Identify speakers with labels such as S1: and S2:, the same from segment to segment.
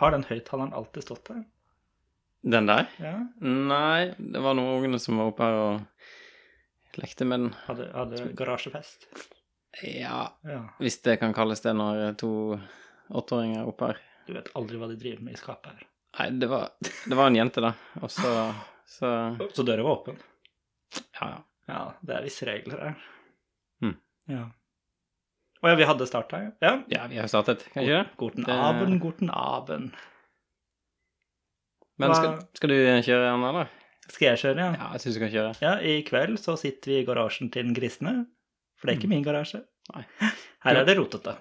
S1: Har den høyttaleren alltid stått der?
S2: Den der?
S1: Ja.
S2: Nei, det var noen ungene som var oppe her og lekte med den.
S1: Hadde, hadde garasjefest?
S2: Ja,
S1: Ja.
S2: hvis det kan kalles det når to åtteåringer er oppe her.
S1: Du vet aldri hva de driver med i skapet her.
S2: Nei, det var, det var en jente, da. Og så, så
S1: Så døra var åpen.
S2: Ja, ja.
S1: Ja, det er visse regler her. Hm.
S2: Mm.
S1: Ja. Å ja, vi hadde starta, ja.
S2: Ja, vi har jo startet, kan ikke det?
S1: Guten
S2: Det-
S1: Abend, guten Abend.
S2: Men skal, skal du kjøre den, eller?
S1: Skal jeg kjøre, ja?
S2: Ja, jeg syns du kan kjøre.
S1: Ja, i kveld så sitter vi i garasjen til den grisne. For det er ikke min garasje.
S2: Nei.
S1: Her er det rotete.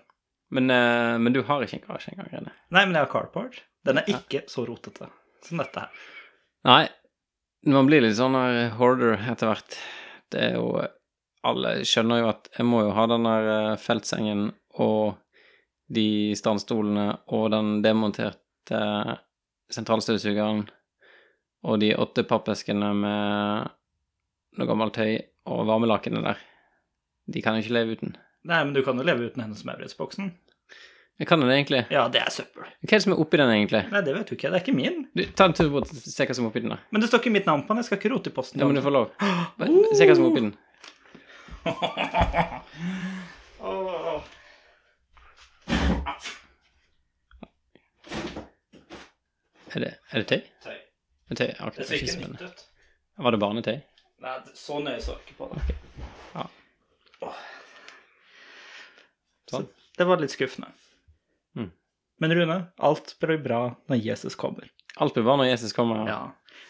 S2: Men, eh, men du har ikke en garasje engang? Rene.
S1: Nei, men jeg har carport. Den er ikke så rotete som dette her.
S2: Nei, man blir litt sånn her hoarder etter hvert. Det er jo eh, Alle skjønner jo at jeg må jo ha den der eh, feltsengen og de standstolene og den demonterte sentralstøvsugeren og de åtte pappeskene med noe gammelt tøy og varmelakenet der. De kan jo ikke leve uten.
S1: Nei, men du kan jo leve uten Hennes Maurits-boksen.
S2: Jeg kan jo det, egentlig.
S1: Ja, det er søppel.
S2: Hva er det som er oppi den, egentlig?
S1: Nei, det vet du ikke. Det er ikke min.
S2: Du, ta en tur bort og se hva som er oppi den. da.
S1: Men det står ikke mitt navn på den. Jeg skal ikke rote i posten.
S2: Ja, men du får lov. Se hva som er oppi den.
S1: Åh.
S2: Er det, er det tøy?
S1: Tøy.
S2: Det er tøy? Ja, ok,
S1: Det
S2: det er
S1: ser
S2: ikke
S1: ikke nytt
S2: spennende.
S1: ut.
S2: Var det barnetøy?
S1: Nei, så nøye så jeg ikke på det.
S2: Ja.
S1: Åh.
S2: Sånn.
S1: Så det var litt skuffende.
S2: Mm.
S1: Men Rune, alt blir bra når Jesus kommer.
S2: Alt blir bra når Jesus kommer.
S1: Ja.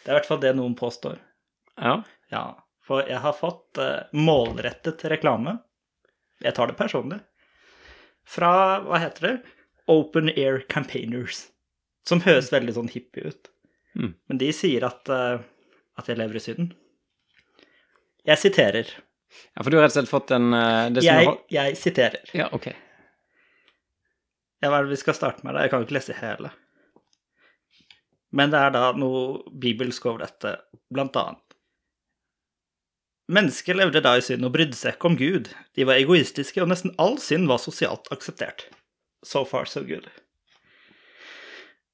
S1: Det er i hvert fall det noen påstår.
S2: ja.
S1: Ja. For jeg har fått eh, målrettet reklame. Jeg tar det personlig. Fra, hva heter det? Open Air Campaigners. Som høres veldig sånn hippie ut.
S2: Mm.
S1: Men de sier at, eh, at jeg lever i Syden. Jeg siterer.
S2: ja, for du har rett og slett fått en eh, det som du
S1: Jeg,
S2: har-
S1: jeg siterer.
S2: Ja, ok.
S1: Ja, hva er det vi skal starte med? da? Jeg kan jo ikke lese hele. Men det er da noe bibelsk over dette, blant annet. Mennesker levde da i synd og brydde seg ikke om Gud. De var egoistiske, og nesten all synd var sosialt akseptert. So far, so good.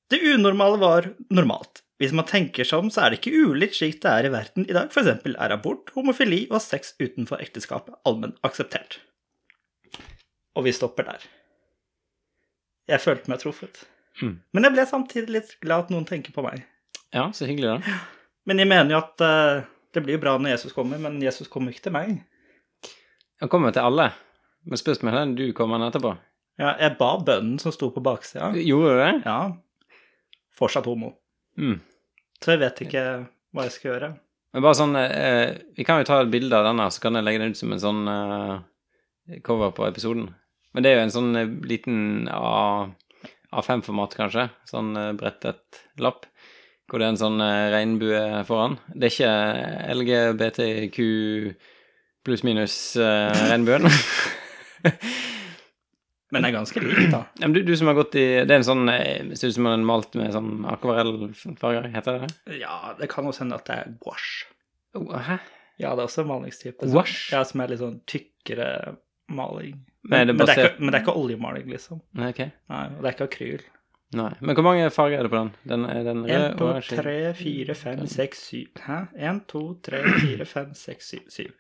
S1: Det unormale var normalt. Hvis man tenker seg om, så er det ikke ulikt slik det er i verden i dag. For eksempel er abort, homofili og sex utenfor ekteskapet allmenn akseptert. Og vi stopper der. Jeg følte meg truffet.
S2: Mm.
S1: Men jeg ble samtidig litt glad at noen tenker på meg.
S2: Ja, så hyggelig, da.
S1: Men jeg mener jo at eh, det blir jo bra når Jesus kommer, men Jesus kommer ikke til meg.
S2: Han kommer til alle. Men spørsmålet er du kommer han etterpå.
S1: Ja, jeg ba bønnen som sto på baksida.
S2: Gjorde du det?
S1: Ja. Fortsatt homo.
S2: Mm.
S1: Så jeg vet ikke hva jeg skal gjøre.
S2: Men bare sånn eh, Vi kan jo ta et bilde av denne, så kan jeg legge den ut som en sånn eh, cover på episoden. Men det er jo en sånn eh, liten A, A5-format, kanskje. Sånn eh, brettet lapp. Hvor det er en sånn eh, regnbue foran. Det er ikke eh, LGBTQ pluss-minus eh, regnbuen.
S1: Men det er ganske likt, da.
S2: Ja, men du, du som har gått i Det er en sånn eh, Ser ut som den er malt med sånn akvarellfarger, heter det det?
S1: Ja, det kan også hende at det er gouache.
S2: Oh, hæ?
S1: Ja, det er også en malingstype. som-
S2: Gouache?
S1: Ja, som er litt sånn tykkere maling.
S2: Men er det
S1: men, det er
S2: basert-
S1: ikke, men det er ikke oljemaling, liksom.
S2: Nei, ok.
S1: Nei, og det er ikke akryl.
S2: Nei. Men hvor mange farger er det på den? Den, er den
S1: En,
S2: rød,
S1: to,
S2: oransje
S1: tre, fire, fem, seks, syv. Hæ? En, to, tre, fire, fem, seks, syv. syv.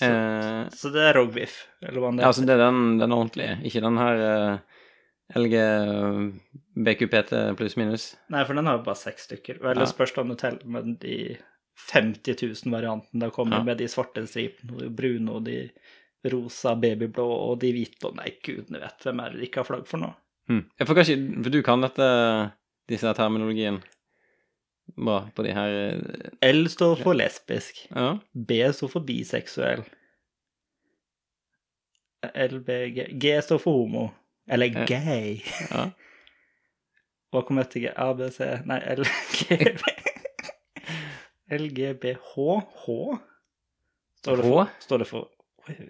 S1: Så,
S2: Eh,
S1: så det er rogbiff, eller hva det
S2: ja, altså det er den, den ordentlige, ikke den her eh, LG BQPT pluss minus.
S1: Nei, for den har jo bare seks stykker. Vel,
S2: Ja.
S1: det spørs om du teller med de 50 000 variantene det kommer
S2: Ja.
S1: med de svarte stripene, og de brune og de rosa, babyblå og de hvite og Nei, gudene vet hvem er det de ikke har flagg for nå.
S2: Mm. Jeg får kanskje, for du kan dette, disse her terminologien bra på de her eh,
S1: L står for lesbisk.
S2: Ja,
S1: B står for biseksuell. LBG G står for homo. Eller
S2: Ja.
S1: gay.
S2: ja.
S1: Hva kom etter G? A, B, C Nei, L, G, L, G, B, H. H? Står det for,
S2: H?
S1: står det for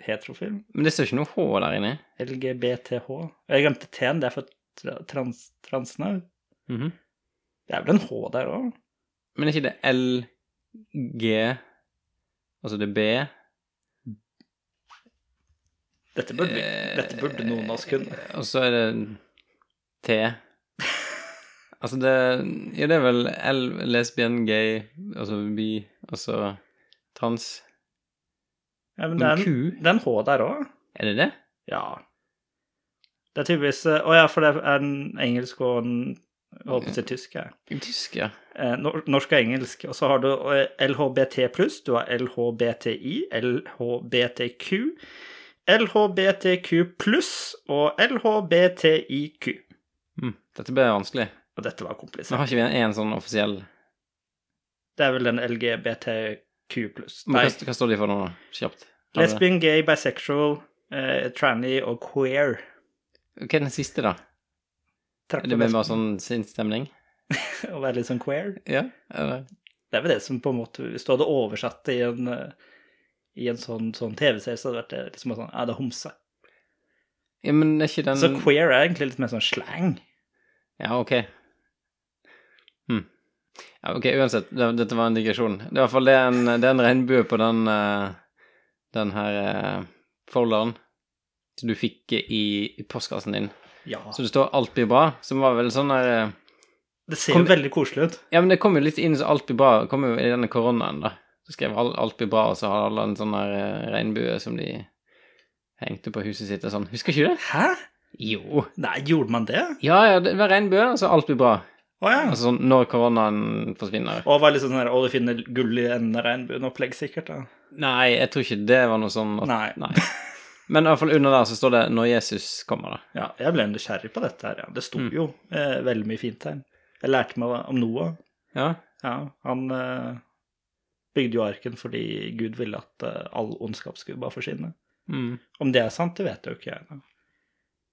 S1: heterofilm?
S2: Men det står ikke noe H der inne.
S1: LGBTH. Jeg glemte T-en, det er for Tra, trans, transene?
S2: Mhm.
S1: Det er vel en H der òg?
S2: Men er ikke det LG Altså det er B?
S1: Dette, burde vi- dette burde noen av oss kunne.
S2: Eh, Og så er det T. Altså det Ja, det er vel L, lesbien, gay, altså bi, altså trans.
S1: Ja, men
S2: Men
S1: det er en,
S2: Q,
S1: det er en H der òg.
S2: er det det?
S1: Ja. Det er tydeligvis eh, Å ja, for det er en engelsk og en jeg holdt på å si tysk, jeg.
S2: I Tysk, ja.
S1: Eh, nor- Norsk og engelsk. Og så har du eh, LHBT pluss, du har LHBTI, LHBTQ, LHBTQ pluss og LHBTIQ.
S2: Mm. Dette ble vanskelig.
S1: Og dette var
S2: Nå
S1: komplisert.
S2: har ikke vi en, en sånn offisiell
S1: Det er vel den LGBTQ pluss.
S2: Men
S1: Nei.
S2: hva, hva står de for nå, da? Kjapt. Har du det?
S1: Lesbian, gay, bisexual, eh, tranny og queer.
S2: Hva er den siste, da?
S1: Trakk
S2: Er det
S1: på
S2: med
S1: lesb-
S2: bare sånn sinnsstemning?
S1: Å være litt sånn queer.
S2: Ja? Eller?
S1: Det er vel det som på en måte Hvis du hadde oversatt det i en, eh, i en sånn, sånn TV-serie, så hadde det vært det liksom sånn Ja, det er homse.
S2: Ja, men er ikke den
S1: Så queer er egentlig litt mer sånn slang.
S2: Ja, ok. Hm. Ja, ok, uansett, det, dette var en digresjon. Det er i hvert fall det er en, det er en regnbue på den, eh, den her eh, folderen som du fikk i, i postkassen din.
S1: Ja.
S2: Så det står 'alt blir bra', som var vel sånn der eh,
S1: Det ser
S2: Kom-
S1: jo veldig koselig ut.
S2: Ja, men det kom jo litt inn så 'alt blir bra' kom jo i denne koronaen, da. Så skrev all- 'alt blir bra', og så hadde alle en sånn der eh, regnbue som de hengte på huset sitt og sånn. Husker ikke du det?
S1: Hæ?
S2: Jo.
S1: Nei, gjorde man det?
S2: Ja, ja, det var regnbue, og så 'alt blir bra'.
S1: Å ja.
S2: Altså sånn når koronaen forsvinner.
S1: Og var liksom sånn der, å, du finner gull i enden av regnbuen-opplegg, sikkert. da.
S2: Nei, jeg tror ikke det var noe sånn at,
S1: Nei.
S2: Men i hvert fall under der så står det 'Når Jesus kommer', da.
S1: Ja, jeg ble nysgjerrig på dette her, ja. Det sto
S2: Mm.
S1: jo eh, veldig mye fint her. Jeg lærte meg om Noah.
S2: Ja,
S1: Ja, han eh, bygde jo arken fordi Gud ville at eh, all ondskap skulle bare forsvinne.
S2: mm.
S1: Om det er sant, det vet jeg jo ikke jeg. da.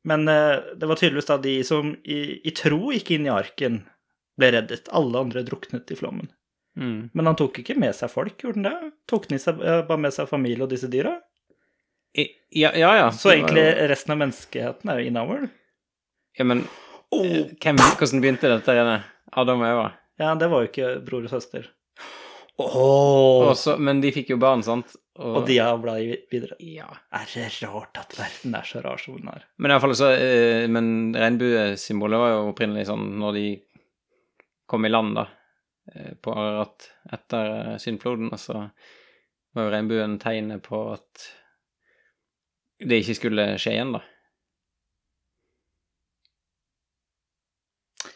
S1: Men eh, det var tydeligvis da de som i, i tro gikk inn i arken, ble reddet. Alle andre druknet i flommen.
S2: Mm.
S1: Men han tok ikke med seg folk, gjorde han det? Tok han i seg, eh, bare med seg familie og disse dyra?
S2: I, ja, ja, ja.
S1: Så
S2: det var
S1: egentlig
S2: jo,
S1: resten av menneskeheten er jo innover.
S2: Ja, men eh,
S1: Oh.
S2: hvem, hvordan begynte dette igjen? Adam og Eva.
S1: Ja, det var jo ikke bror og søster.
S2: Og
S1: Oh.
S2: så, men de fikk jo barn, sant?
S1: Og de avla i- videre.
S2: Ja.
S1: Er det rart at verden er så rar som den er?
S2: Men i hvert fall så eh, Men regnbuesymbolet var jo opprinnelig sånn når de kom i land, da, eh, på Ararat etter eh, syndfloden, og så var jo regnbuen tegnet på at det ikke skulle skje igjen, da.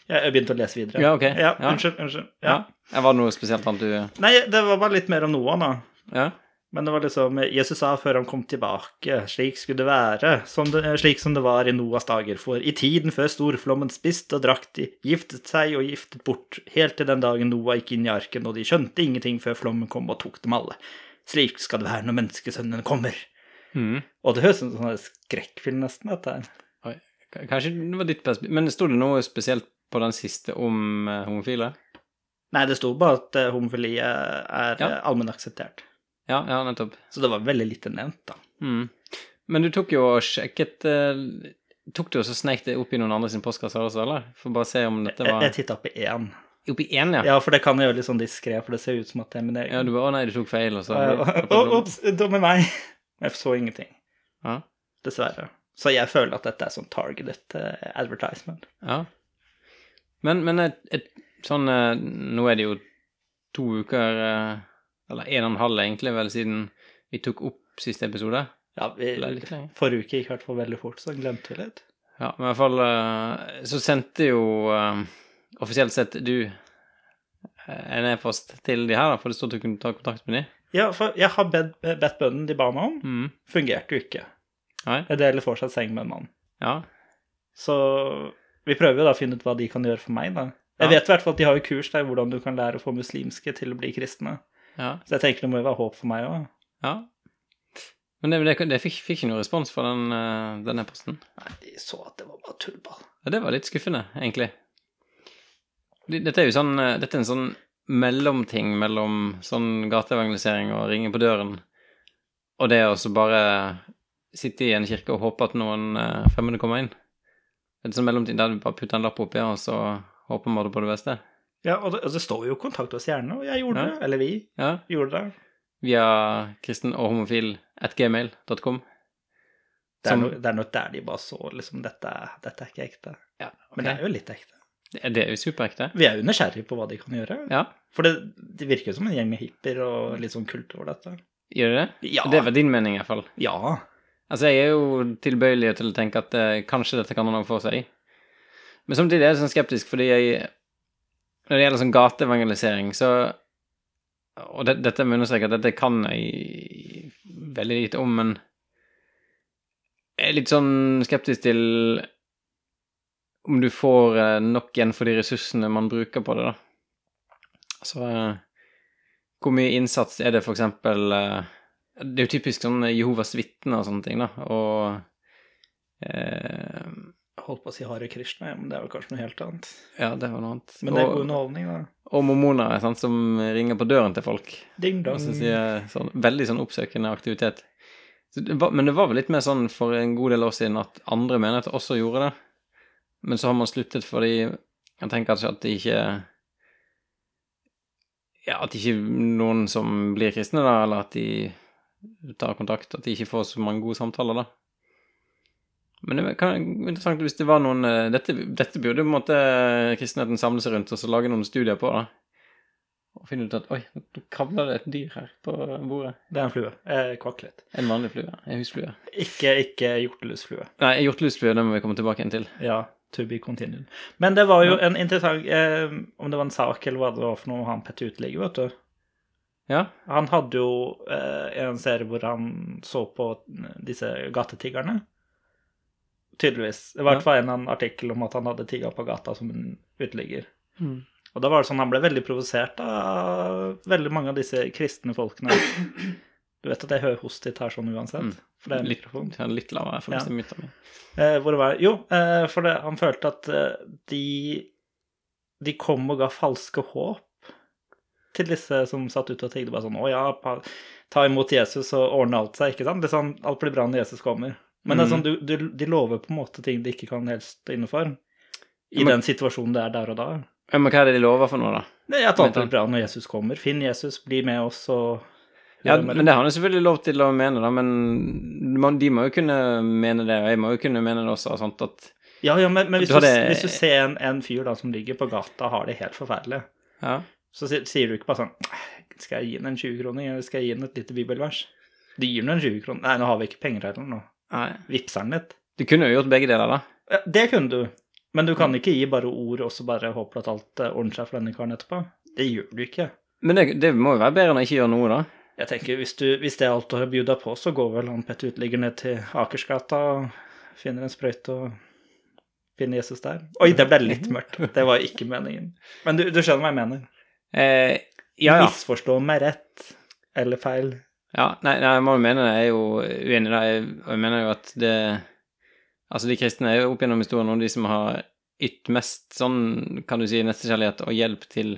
S1: Jeg jeg begynte å lese videre.
S2: Ja, ok.
S1: Ja,
S2: Ja.
S1: Unnskyld. unnskyld. Ja.
S2: Ja. ja. Var det noe spesielt annet du
S1: Nei, det var bare litt mer om Noah, da.
S2: Ja?
S1: Men det var liksom Jesus sa før han kom tilbake, slik skulle det være, som det, slik som det var i Noas dager, for i tiden før storflommen spiste og drakk de, giftet seg og giftet bort, helt til den dagen Noah gikk inn i arken, og de skjønte ingenting før flommen kom og tok dem alle. Slik skal det være når menneskesønnen kommer.
S2: Mhm.
S1: Og det høres ut som en sånn skrekkfilm, nesten, dette her.
S2: K- Kanskje det var ditt perspektiv Men sto det noe spesielt på den siste om eh, homofile?
S1: Nei, det sto bare at eh, homofili er
S2: Ja.
S1: eh, allmenn akseptert.
S2: Ja, ja, nettopp.
S1: Så det var veldig lite nevnt, da.
S2: Mhm. Men du tok jo og sjekket eh, Tok du og så sneik det opp i noen andre sin postkasse også, eller? For bare se om dette
S1: Jeg,
S2: var
S1: jeg titta på én.
S2: Oppi én, ja.
S1: Ja, for det kan jeg gjøre litt sånn diskré, for det ser ut som at jeg men jeg-
S2: Ja, du bare 'Å nei, du tok feil', og så
S1: Eh, Ops, dum er meg. Jeg så ingenting,
S2: Ja.
S1: dessverre. Så jeg føler at dette er sånn targeted eh, advertisement.
S2: ja. Men, men et, et sånn eh, Nå er det jo to uker eh, Eller en og en halv, egentlig, vel, siden vi tok opp siste episode.
S1: Ja, vi,
S2: Eller litt lenger.
S1: Forrige uke gikk i hvert fall veldig fort, så glemte vi litt.
S2: Ja, men i hvert fall eh, så sendte jo eh, offisielt sett du eh, en e-post til de her, da, for det stod at du kunne ta kontakt med de.
S1: Ja, for jeg har bedt, bedt bønnen de ba meg om.
S2: Mm.
S1: Fungerte jo ikke.
S2: Nei?
S1: Jeg deler fortsatt seng med en mann.
S2: Ja.
S1: Så vi prøver jo da å finne ut hva de kan gjøre for meg, da. Jeg
S2: Ja.
S1: vet i hvert fall at de har jo kurs der hvordan du kan lære å få muslimske til å bli kristne.
S2: Ja.
S1: Så jeg tenker det må jo være håp for meg òg.
S2: ja. Men det, det, det fikk, fikk ikke noe respons fra den, eh, den e-posten.
S1: Nei, de så at det var bare tullball.
S2: Ja, det var litt skuffende, egentlig. Det- Dette er jo sånn, eh, dette er en sånn mellomting mellom sånn gateevangelisering og ringe på døren, og det å så bare sitte i en kirke og håpe at noen eh, fremmede kommer inn. En sånn mellomtid der du bare putter en lapp oppi, og så håper man på det beste.
S1: Ja, og det, og det står jo 'kontakt oss gjerne', og jeg gjorde
S2: Ja.
S1: det. Eller vi
S2: Ja.
S1: gjorde det.
S2: Via kristen og homofil at gmail.com.
S1: Det er,
S2: Som-
S1: no, det er nok der de bare så liksom dette, dette er ikke ekte.
S2: Ja,
S1: Men det er jo litt ekte.
S2: Det er jo superekte.
S1: Vi er jo nysgjerrige på hva de kan gjøre.
S2: Ja,
S1: For det, det virker jo som en gjeng med hippier og litt sånn kult over dette.
S2: gjør det det?
S1: Ja.
S2: Det var din mening, i hvert fall.
S1: ja.
S2: Altså, jeg er jo tilbøyelig til å tenke at eh, kanskje dette kan ha noe for seg. Men samtidig er jeg sånn skeptisk, fordi jeg Når det gjelder sånn gateevangelisering, så Og det, dette må jeg understreke at dette kan jeg veldig lite om, men jeg er litt sånn skeptisk til om du får eh, nok igjen for de ressursene man bruker på det, da. Altså eh, Hvor mye innsats er det for eksempel eh, det er jo typisk sånn Jehovas vitner og sånne ting, da. Og eh,
S1: Jeg holdt på å si Hare Krishna, ja, men det er jo kanskje noe helt annet.
S2: Ja, det var noe annet.
S1: Men det er god
S2: og,
S1: underholdning, da.
S2: og mormoner sant, som ringer på døren til folk.
S1: Ding
S2: Og
S1: dong.
S2: så sier sånn, Veldig sånn oppsøkende aktivitet. Så det var, men det var vel litt mer sånn for en god del år siden at andre menigheter også gjorde det. Men så har man sluttet fordi jeg tenker kanskje at det ikke Ja, at ikke noen som blir kristne, da, eller at de tar kontakt, at de ikke får så mange gode samtaler, da. Men det var interessant hvis det var noen eh, Dette, dette burde på en måte kristenheten samle seg rundt og så lage noen studier på, da og finner ut at oi, nå kravler det et dyr her på bordet.
S1: Det er en flue. Eh, kvakk litt.
S2: En vanlig flue. En husflue.
S1: Ikke, ikke hjortelusflue.
S2: Nei, en hjortelusflue, den må vi komme tilbake igjen til.
S1: Ja, to be continued. Men det var jo en interessant eh, Om det var en sak eller hva det var for noe han Petter Uteligger, vet du.
S2: Ja,
S1: Han hadde jo eh, en serie hvor han så på disse gatetiggerne. Tydeligvis. Det var i hvert fall en eller annen artikkel om at han hadde tigga på gata som en uteligger.
S2: Mm.
S1: Og da var det sånn han ble veldig provosert av veldig mange av disse kristne folkene. Du vet at jeg hører host ditt her sånn uansett?
S2: Mm.
S1: For det er en
S2: litt,
S1: mikrofon.
S2: ja, litt lavere for
S1: Ja.
S2: hvis det er myter min.
S1: Eh, hvor det var, jo, eh, for det, han følte at eh, de, de kom og ga falske håp til disse som satt ute og tigde. Bare sånn 'Å ja, pa, ta imot Jesus og ordne alt seg', ikke sant? Det er sånn, alt blir bra når Jesus kommer. Men det er sånn, du,
S2: Mm.
S1: du, de lover på en måte ting de ikke kan helst stå inne for, i
S2: Ja, men-
S1: den situasjonen det er der og da.
S2: Ja, Men hva er det de lover for noe, da?
S1: Nei, at alt blir bra når Jesus kommer. Finn Jesus, bli med oss og
S2: Ja, men Det har han jo selvfølgelig lov til å mene, da, men man, de må jo kunne mene det, og jeg må jo kunne mene det også. Sant, at,
S1: ja, ja, men, men hvis, du,
S2: Du har det-
S1: hvis du ser en, en fyr da som ligger på gata og har det helt forferdelig
S2: ja.
S1: så si- sier du ikke bare sånn Skal jeg gi henne en 20-kroning, eller skal jeg gi henne et lite bibelvers? Du gir henne en 20-kroning. Nei, nå har vi ikke penger heller nå.
S2: Nei.
S1: Vipser den litt.
S2: Du kunne jo gjort begge deler, da.
S1: Ja, det kunne du. Men du kan ikke gi bare ord og så bare håpe at alt eh, ordner seg for denne karen etterpå. Det gjør du ikke.
S2: Men det, det må jo være bedre enn å ikke gjøre noe, da.
S1: Jeg tenker, hvis, du, hvis det er alt du har bjuda på, så går vel han Petter Uteligger ned til Akersgata og finner en sprøyte og finner Jesus der. Oi, det ble litt mørkt. Det var ikke meningen. Men du, du skjønner hva jeg mener.
S2: Eh, ja, ja.
S1: Misforstå meg rett eller feil.
S2: Ja, nei, nei, jeg må jo mene det. Jeg er jo uenig i det. Jeg, og jeg mener jo at det Altså, de kristne er jo opp gjennom historien noen av de som har ytt mest sånn, kan du si, nestekjærlighet og hjelp til,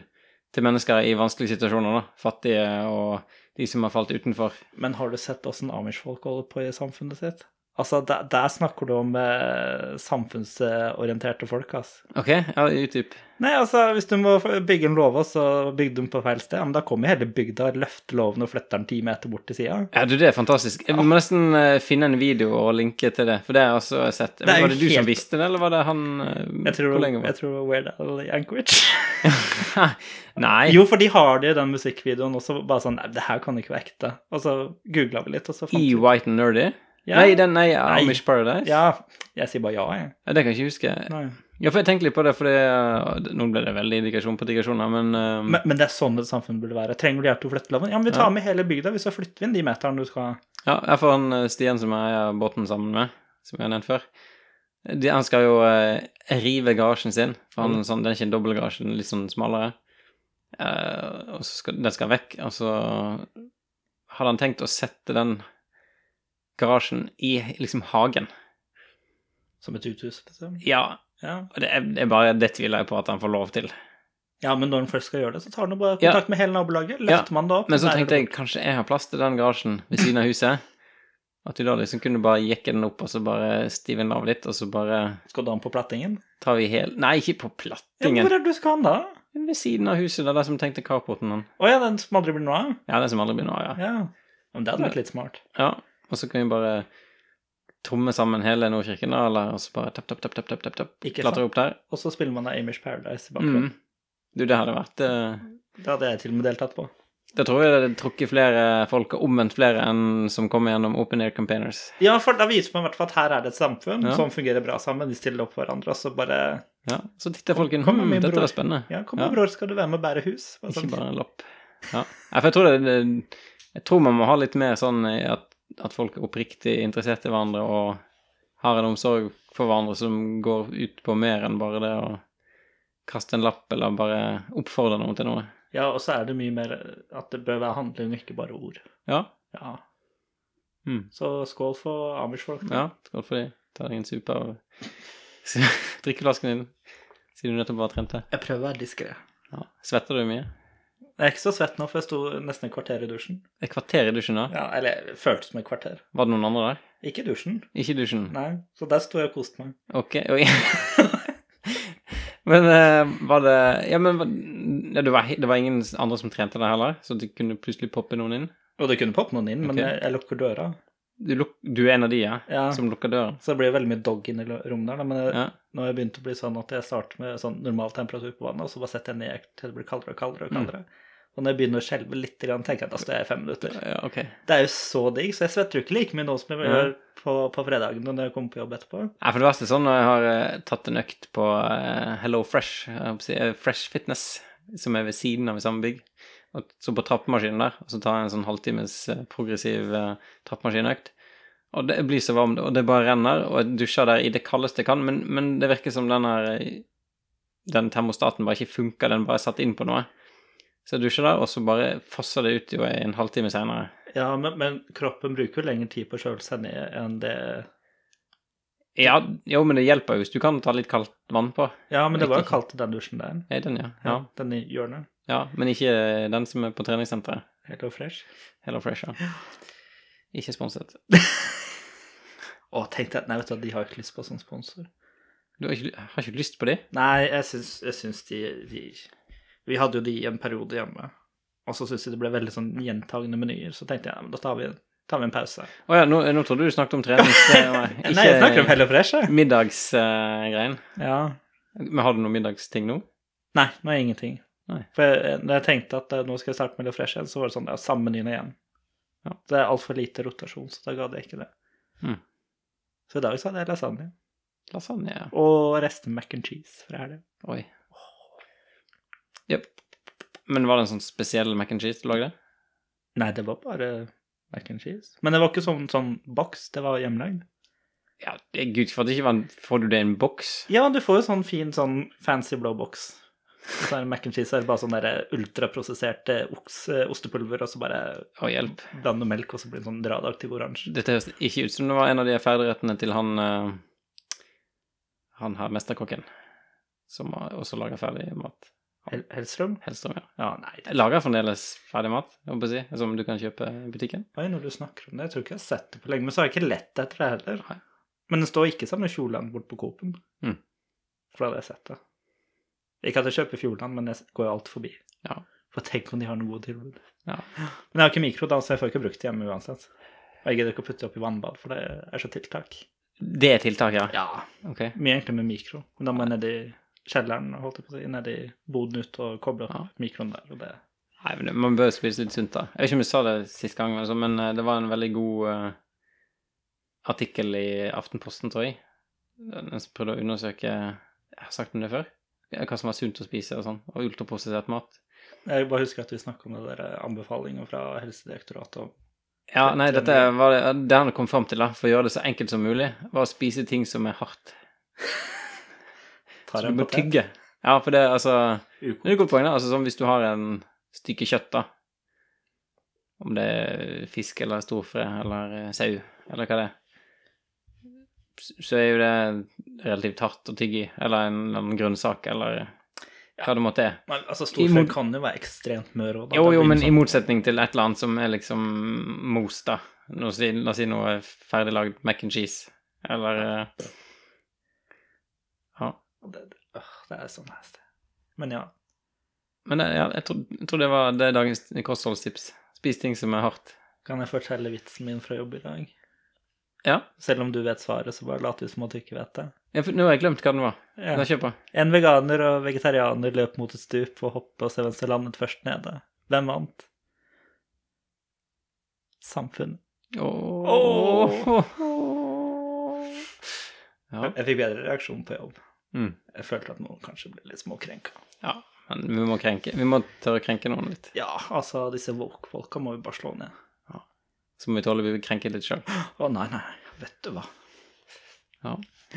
S2: til mennesker i vanskelige situasjoner, da. Fattige og de som har falt utenfor.
S1: Men har du sett åssen amish-folk holder på i samfunnet sitt? Altså, der, der snakker du om eh, samfunnsorienterte folk, ass.
S2: OK? Ja, utdyp.
S1: Nei, altså, hvis du må bygge en låve, og så bygger du den på feil sted, ja, men da kommer hele bygda, løfter låven og flytter den ti meter bort til sida.
S2: Ja, du, det er fantastisk. Jeg må nesten eh, finne en video og linke til det, for det har jeg også sett.
S1: Det er jo
S2: var det du
S1: helt-
S2: som visste det, eller var det han eh,
S1: Jeg tror,
S2: Hvor lenge
S1: jeg
S2: var det?
S1: tror Weird Al Yankovic.
S2: Nei.
S1: Jo, for de har det i den musikkvideoen også, bare sånn Nei, det her kan ikke være ekte. Og så googla vi litt, og så fant
S2: E.
S1: vi
S2: White and Nerdy?
S1: ja,
S2: Nei, den, nei, Amish Paradise?
S1: Ja. Jeg sier bare ja, jeg.
S2: Ja, Det kan jeg ikke huske.
S1: Nei.
S2: Ja, for jeg tenkte litt på det, for det øh, Nå ble det veldig indikasjon på digresjoner, men, øh,
S1: Men, men det er sånn et samfunn burde være. Trenger du hjelp til å flytte låven? Ja, men vi tar med hele bygda, hvis så flytter vi inn de meterne du skal ha.
S2: Ja, jeg får han øh, Stian som jeg eier båten sammen med, som jeg har nevnt før. De, han skal jo øh, rive garasjen sin, for han, er sånn, den er ikke en dobbeltgarasje, den er litt sånn smalere. Eh, og så skal den skal vekk, og så hadde han tenkt å sette den garasjen i liksom hagen.
S1: Som et uthus, liksom.
S2: Ja,
S1: Ja.
S2: og det, er- det er bare det tviler jeg på at han får lov til.
S1: ja, men når den først skal gjøre det, så tar den jo bare
S2: Ja.
S1: kontakt med hele nabolaget.
S2: Ja,
S1: Løfter man det opp.
S2: Men så
S1: bærer
S2: tenkte jeg kanskje jeg har plass til den garasjen ved siden av huset. At du da liksom kunne bare jekke den opp, og så bare stive den av litt, og så bare
S1: Skal du ha den på plattingen?
S2: tar vi hel... Nei, ikke på
S1: Ja, men
S2: plattingen.
S1: hvor er det du skal ha den da?
S2: Ved siden av huset, det er der som tenkte carporten han.
S1: Å ja, den som aldri blir noe av?
S2: Ja, den som aldri blir noe av, ja.
S1: Ja. Men det hadde vært litt smart.
S2: ja. Og så kan vi bare tromme sammen hele Nordkirken, da, eller og så bare tapp, tapp, tapp, tapp, tapp, tapp, tapp.
S1: Ikke
S2: klatre
S1: sant?
S2: opp der.
S1: Og så spiller man av Amish Paradise i bakgrunnen.
S2: Mm. Du, det hadde vært eh,
S1: Det hadde jeg til og med deltatt på.
S2: Da tror jeg det hadde trukket flere folk, og omvendt flere enn som kommer gjennom open air campaigners.
S1: Ja, for da viser man i hvert fall at her er det et samfunn
S2: Ja.
S1: som fungerer bra sammen. De stiller opp for hverandre, og så bare
S2: Ja, Så titter folk inn.
S1: Kom,
S2: Hm,
S1: min
S2: dette
S1: bror.
S2: var spennende.
S1: Ja, kom da,
S2: Ja.
S1: bror, skal du være med og bære hus? Og
S2: Ikke
S1: sånn.
S2: bare en lapp. Ja. Nei, for jeg tror, det, det, jeg tror man må ha litt mer sånn i at, at folk er oppriktig interessert i hverandre og har en omsorg for hverandre som går ut på mer enn bare det å kaste en lapp eller bare oppfordre noen til noe.
S1: Ja, og så er det mye mer eh, at det bør være handling, og ikke bare ord.
S2: Ja.
S1: Ja.
S2: Mm.
S1: Så skål for Amish-folk. da.
S2: ja Skål for de. Ta deg en supe av drikkeflasken din siden du nettopp bare trente.
S1: Jeg prøver å være diskré.
S2: Ja. Svetter du mye?
S1: Jeg er ikke så svett nå, for jeg sto nesten et kvarter i dusjen.
S2: Et kvarter i dusjen, da?
S1: Ja, Eller det føltes som et kvarter.
S2: Var det noen andre der?
S1: Ikke i dusjen,
S2: Ikke i dusjen?
S1: nei. Så der sto jeg og koste meg.
S2: Ok, oi. men eh, var det Ja, men var, ja, det, var, he- det var ingen andre som trente deg heller? Så det kunne plutselig poppe noen inn?
S1: Og det kunne poppe noen inn, men
S2: Ok.
S1: jeg, jeg lukker døra.
S2: Du, luk, du er en av de, ja?
S1: Ja.
S2: Som lukker døren?
S1: Så det blir veldig mye dog inn i lo- rommet der, da, men jeg,
S2: Ja.
S1: nå har jeg begynt å bli sånn at jeg starter med sånn normal temperatur på vannet, og så bare setter jeg ned til det blir kaldere og kaldere. og
S2: Mm.
S1: kaldere. Og når jeg begynner å skjelve litt, grann, tenker jeg at da står jeg i fem minutter.
S2: ja, ok.
S1: Det er jo så digg, så jeg svetter jo ikke like mye nå som jeg
S2: Ja.
S1: gjør på, på fredagene når jeg kommer på jobb etterpå.
S2: Nei, for det verste er sånn når jeg har eh, tatt en økt på eh, Hello Fresh, jeg holdt på å si, eh, Fresh Fitness, som er ved siden av i samme bygg, og så på trappemaskinen der, og så tar jeg en sånn halvtimes eh, progressiv eh, trappemaskinøkt, og det blir så varmt, og det bare renner, og jeg dusjer der i det kaldeste jeg kan, men, men det virker som den her eh, den termostaten bare ikke funker, den bare er satt inn på noe. Så jeg dusjer der, og så bare fosser det ut jo en halvtime senere.
S1: Ja, men, men kroppen bruker jo lengre tid på å kjøle seg ned enn det
S2: Ja, jo, men det hjelper jo hvis du kan ta litt kaldt vann på.
S1: Ja, men det var jo
S2: Riktig.
S1: kaldt i den dusjen der.
S2: Er den, ja?
S1: Ja.
S2: Ja.
S1: Den i hjørnet.
S2: Ja, men ikke den som er på treningssenteret.
S1: Helt og fresh.
S2: Hello Fresh, ja. Ikke sponset.
S1: Å, tenkte jeg Nei, vet du, hva, de har jo ikke lyst på sånn sponsor.
S2: Du har ikke, har ikke lyst på de?
S1: Nei, jeg syns, jeg syns de, de Vi hadde jo de i en periode hjemme. Og så syntes jeg det ble veldig sånn gjentagende menyer. Så tenkte jeg ja, men da tar vi, tar vi en pause.
S2: Å ja, nå, nå trodde du snakket om trenings... eh,
S1: Nei, jeg snakker om Hello Fresh, jeg.
S2: Middagsgreien.
S1: Ja.
S2: Men har du noen middagsting nå?
S1: Nei, nå er jeg ingenting.
S2: Nei.
S1: For jeg, når jeg tenkte at eh, nå skal jeg starte med Hello Fresh igjen, så var det sånn ja, samme menyen igjen.
S2: Ja.
S1: Det er altfor lite rotasjon, så da gadd jeg ikke det.
S2: Mm.
S1: Så i dag så hadde jeg lasagne.
S2: Lasagne, ja.
S1: Og resten mac and cheese fra helga.
S2: Oi. Jep. Men var det en sånn spesiell mac and cheese du lagde?
S1: Nei, det var bare mac and cheese. Men det var ikke sånn, sånn boks, det var hjemmelagd.
S2: Ja, det- gud, for at det ikke var en... Får du det i en boks?
S1: Ja, du får jo sånn fin, sånn fancy blå boks. Og så er det mac and cheese, så er det bare sånn der ultraprosessert eh, oks, eh, ostepulver, og så bare
S2: Å, hjelp.
S1: blande melk, og så blir det sånn radioaktiv oransje.
S2: Dette høres ikke ut som det var en av de ferdigrettene til han eh, Han her mesterkokken, som har også lager ferdig mat.
S1: Hel Hellstrøm?
S2: Hellstrøm, ja.
S1: Ja, nei. det-
S2: Jeg Lager fremdeles ferdig mat, jeg håper jeg å si, som du kan kjøpe i butikken?
S1: Oi, når du snakker om det, jeg tror ikke jeg har sett det på lenge, men så har jeg ikke lett etter det heller.
S2: Nei.
S1: Men det står ikke sammen med Fjordland bort på Coop-en.
S2: Mm.
S1: For da hadde jeg sett det. Ikke at jeg kjøper Fjordland, men jeg går jo alt forbi.
S2: Ja.
S1: For tenk om de har noen gode tilbud.
S2: Ja.
S1: Men jeg har ikke mikro, da, så jeg får ikke brukt det hjemme uansett. Og jeg gidder ikke å putte det opp i vannbad, for det er så tiltak.
S2: Det er tiltak, ja?
S1: Ja.
S2: Ok.
S1: Mye egentlig med mikro. Men da må jeg ned i kjelleren, holdt jeg på å si, ned i boden ut og koble opp
S2: Ja.
S1: mikroen der. Og det.
S2: Nei, men det- man bør spise litt sunt, da. Jeg vet ikke om jeg sa det sist gang, altså, men eh, det var en veldig god eh, artikkel i Aftenposten, tror jeg. Den som prøvde å undersøke Jeg har sagt om det før. Hva som var sunt å spise og sånn. Og ultraprosessert mat.
S1: Jeg bare husker at vi snakka om det der anbefalinger fra Helsedirektoratet om
S2: Ja,
S1: Tre-
S2: nei,
S1: tre
S2: dette var det, det han kom fram til, da, for å gjøre det så enkelt som mulig, var å spise ting som er hardt.
S1: tar
S2: så
S1: en
S2: du må
S1: potet.
S2: tygge. Ja, for det, altså
S1: Uko.
S2: Det er et godt poeng, da. Altså, sånn, hvis du har en stykke kjøtt, da Om det er fisk eller storfe eller eh, sau eller hva det er Så er jo det relativt hardt å tygge i. Eller en, eller annen grønnsak eller hva det måtte er.
S1: Men altså,
S2: I
S1: storfe
S2: mot-
S1: kan jo være ekstremt mør òg.
S2: Jo, jo, men
S1: liksom sånn-
S2: i motsetning til et eller annet som er liksom mos, da. La oss si, la oss si noe ferdiglagd mac and cheese, eller eh, Ja.
S1: det, det- åh, det er så nasty. Men ja.
S2: Men det, ja, jeg, tror, jeg tror det var det er dagens kostholdstips. Spis ting som er hardt.
S1: Kan jeg fortelle vitsen min fra jobb i dag?
S2: Ja.
S1: Selv om du vet svaret, så bare lat ut som at du ikke vet det.
S2: Jeg, for- nå har jeg glemt hva den var.
S1: Ja.
S2: Da kjør på.
S1: En veganer og vegetarianer løp mot et stup og hoppa og se hvem som landet først nede. Hvem vant? Samfunnet.
S2: Åh. Ja.
S1: Jeg fikk bedre reaksjon på jobb.
S2: Mm.
S1: Jeg følte at noen kanskje ble litt småkrenka.
S2: ja. Men vi må krenke. Vi må tørre å krenke noen litt.
S1: Ja, altså, disse woke-folka må vi bare slå ned.
S2: Så må vi tåle å bli krenket litt sjøl.
S1: Å nei, nei, vet du hva.
S2: Ja.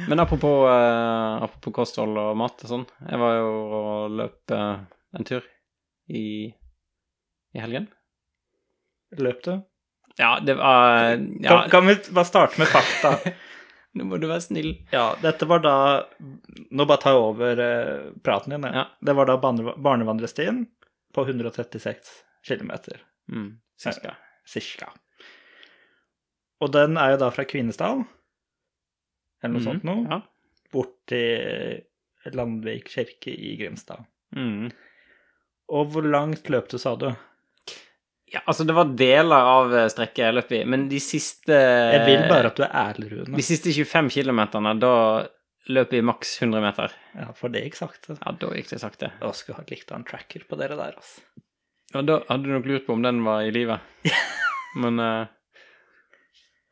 S2: Men apropos, eh, apropos kosthold og mat og sånn. Jeg var jo og løp eh, en tur i, i helgen.
S1: Løp du?
S2: Ja, det var ja.
S1: Kan, kan vi bare starte med fakta?
S2: Nå må du være snill.
S1: ja, dette var da Nå bare tar jeg over eh, praten din. jeg.
S2: Ja.
S1: Det var da barne, barnevandrestien på 136 km.
S2: Mm, cirka.
S1: Cirka. Og den er jo da fra Kvinesdal, eller noe
S2: Mhm,
S1: sånt noe,
S2: Ja.
S1: bort til Landvik kirke i Grimstad.
S2: Mm.
S1: Og hvor langt løp du, sa du?
S2: ja, altså det var deler av eh, strekket jeg løp i, men de siste
S1: Jeg vil bare at du er ærlig, Rune.
S2: De siste 25 kilometerne, da løp vi maks 100 meter.
S1: Ja, for det gikk sakte.
S2: Ja, da gikk det sakte.
S1: Jeg skulle ha likt å ha en tracker på dere der, altså.
S2: Ja, da hadde du nok lurt på om den var i live. Men eh,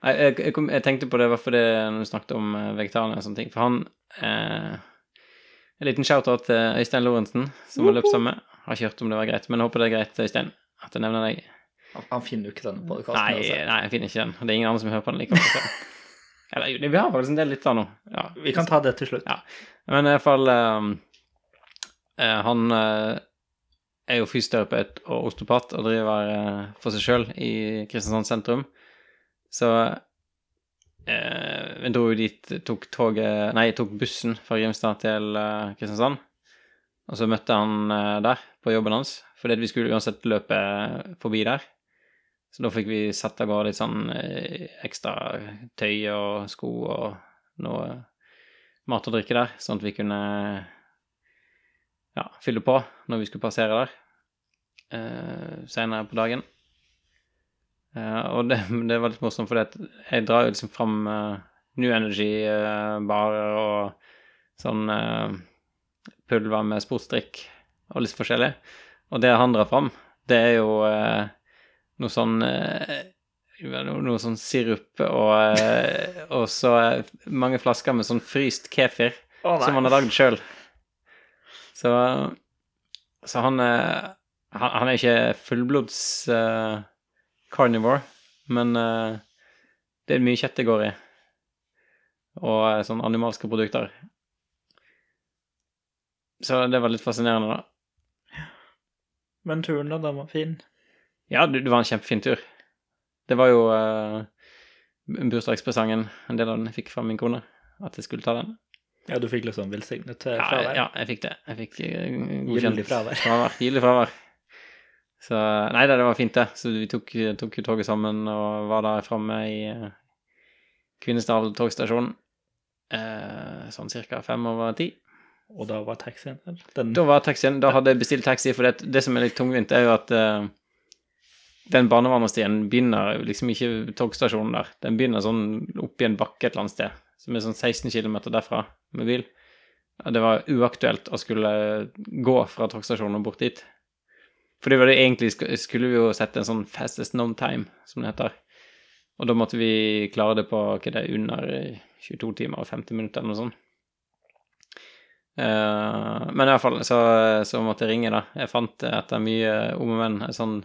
S2: nei, jeg, jeg, kom, jeg tenkte på det var fordi når du snakket om eh, vegetarene og sånne ting. For han eh, En liten shout-out til Øystein Lorentzen, som har løpt sammen med. Har ikke hørt om det var greit, men jeg håper det er greit, Øystein, at jeg nevner deg.
S1: Han, han finner jo ikke denne altså. podkasten.
S2: Nei, nei, jeg finner ikke den. Det er ingen andre som hører på den likevel. så- Eller jo, det- vi har faktisk en del lyttere nå. Ja,
S1: Vi kan ta det til slutt.
S2: Ja. Men i hvert fall ehm, eh, Han eh, er jo fysioterapeut og osteopat og driver eh, for seg sjøl i Kristiansand sentrum. Så eh, vi dro jo dit, tok toget Nei, tok bussen fra Grimstad til eh, Kristiansand. Og så møtte han eh, der, på jobben hans, fordi at vi skulle uansett løpe forbi der. Så da fikk vi sette av gårde litt sånn eh, ekstra tøy og sko og noe mat og drikke der, sånn at vi kunne ja, fylle på når vi skulle passere der eh, senere på dagen. Eh, og det, det var litt morsomt, for jeg drar jo liksom fram eh, New Energy-barer og sånn eh, pulver med sportsdrikk og litt forskjellig. Og det han drar fram, det er jo eh, noe sånn eh, noe, noe sånn sirup og, eh, og så eh, mange flasker med sånn fryst kefir
S1: Å, nei.
S2: som han har lagd sjøl. Så, så han, eh, han Han er ikke fullblods eh, carnivore, men eh, det er mye kjøtt det går i. Og eh, sånn animalske produkter. Så det var litt fascinerende, da.
S1: Men turen da, den var fin.
S2: Ja, det, det var en kjempefin tur. Det var jo eh, bursdagspresangen, en del av den jeg fikk fra min kone, at jeg skulle ta den.
S1: Ja, du fikk liksom velsignet eh,
S2: Ja,
S1: fravær.
S2: ja, jeg fikk det. Jeg fikk eh,
S1: Gyldig
S2: godkjent
S1: fravær.
S2: fravær. Gyldig fravær. Så Nei da, det var fint, det. Så vi tok, tok jo toget sammen og var der framme i eh, Kvinesdal togstasjon eh, sånn cirka fem over ti.
S1: Og da var taxien der. Den
S2: Da var taxien, da hadde jeg bestilt taxi, for det, det som er litt tungvint, er jo at eh, den barnevernstien begynner liksom ikke ved togstasjonen der. Den begynner sånn oppi en bakke et eller annet sted, som er sånn 16 km derfra med bil. Og det var uaktuelt å skulle gå fra togstasjonen og bort dit. For det var det egentlig sk- skulle vi jo sette en sånn fastest known time, som det heter. Og da måtte vi klare det på hva det er, under 22 timer og 50 minutter eller noe sånt. Eh, men i hvert fall så, så måtte jeg ringe, da. Jeg fant eh, etter mye om og men et sånn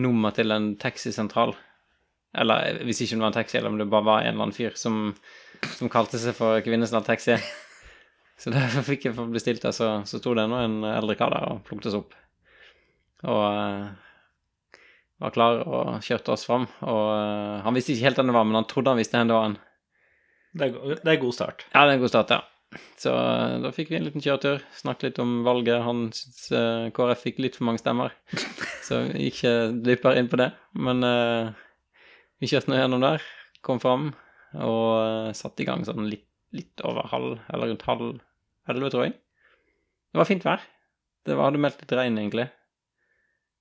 S2: nummer til en taxisentral. Eller eh, hvis ikke det var en taxi, eller om det bare var en eller annen fyr som, som kalte seg for Kvinnesland Taxi. Så derfor fikk jeg få bestilt det, så, så sto det nå en eldre kar der og plukket oss opp. Og eh, var klar og kjørte oss fram. Og eh, han visste ikke helt hvem det var, men han trodde han visste hvem det var. han.
S1: Det er, go- det er god start.
S2: Ja, det er en god start, ja. Så eh, da fikk vi en liten kjøretur. Snakket litt om valget. Han syntes eh, KrF fikk litt for mange stemmer, så vi gikk ikke dypere inn på det. Men eh, vi kjørte nå gjennom der, kom fram og eh, satte i gang sånn litt, litt over halv, eller rundt halv elleve, tror jeg. Det var fint vær. Det var, hadde meldt litt regn, egentlig.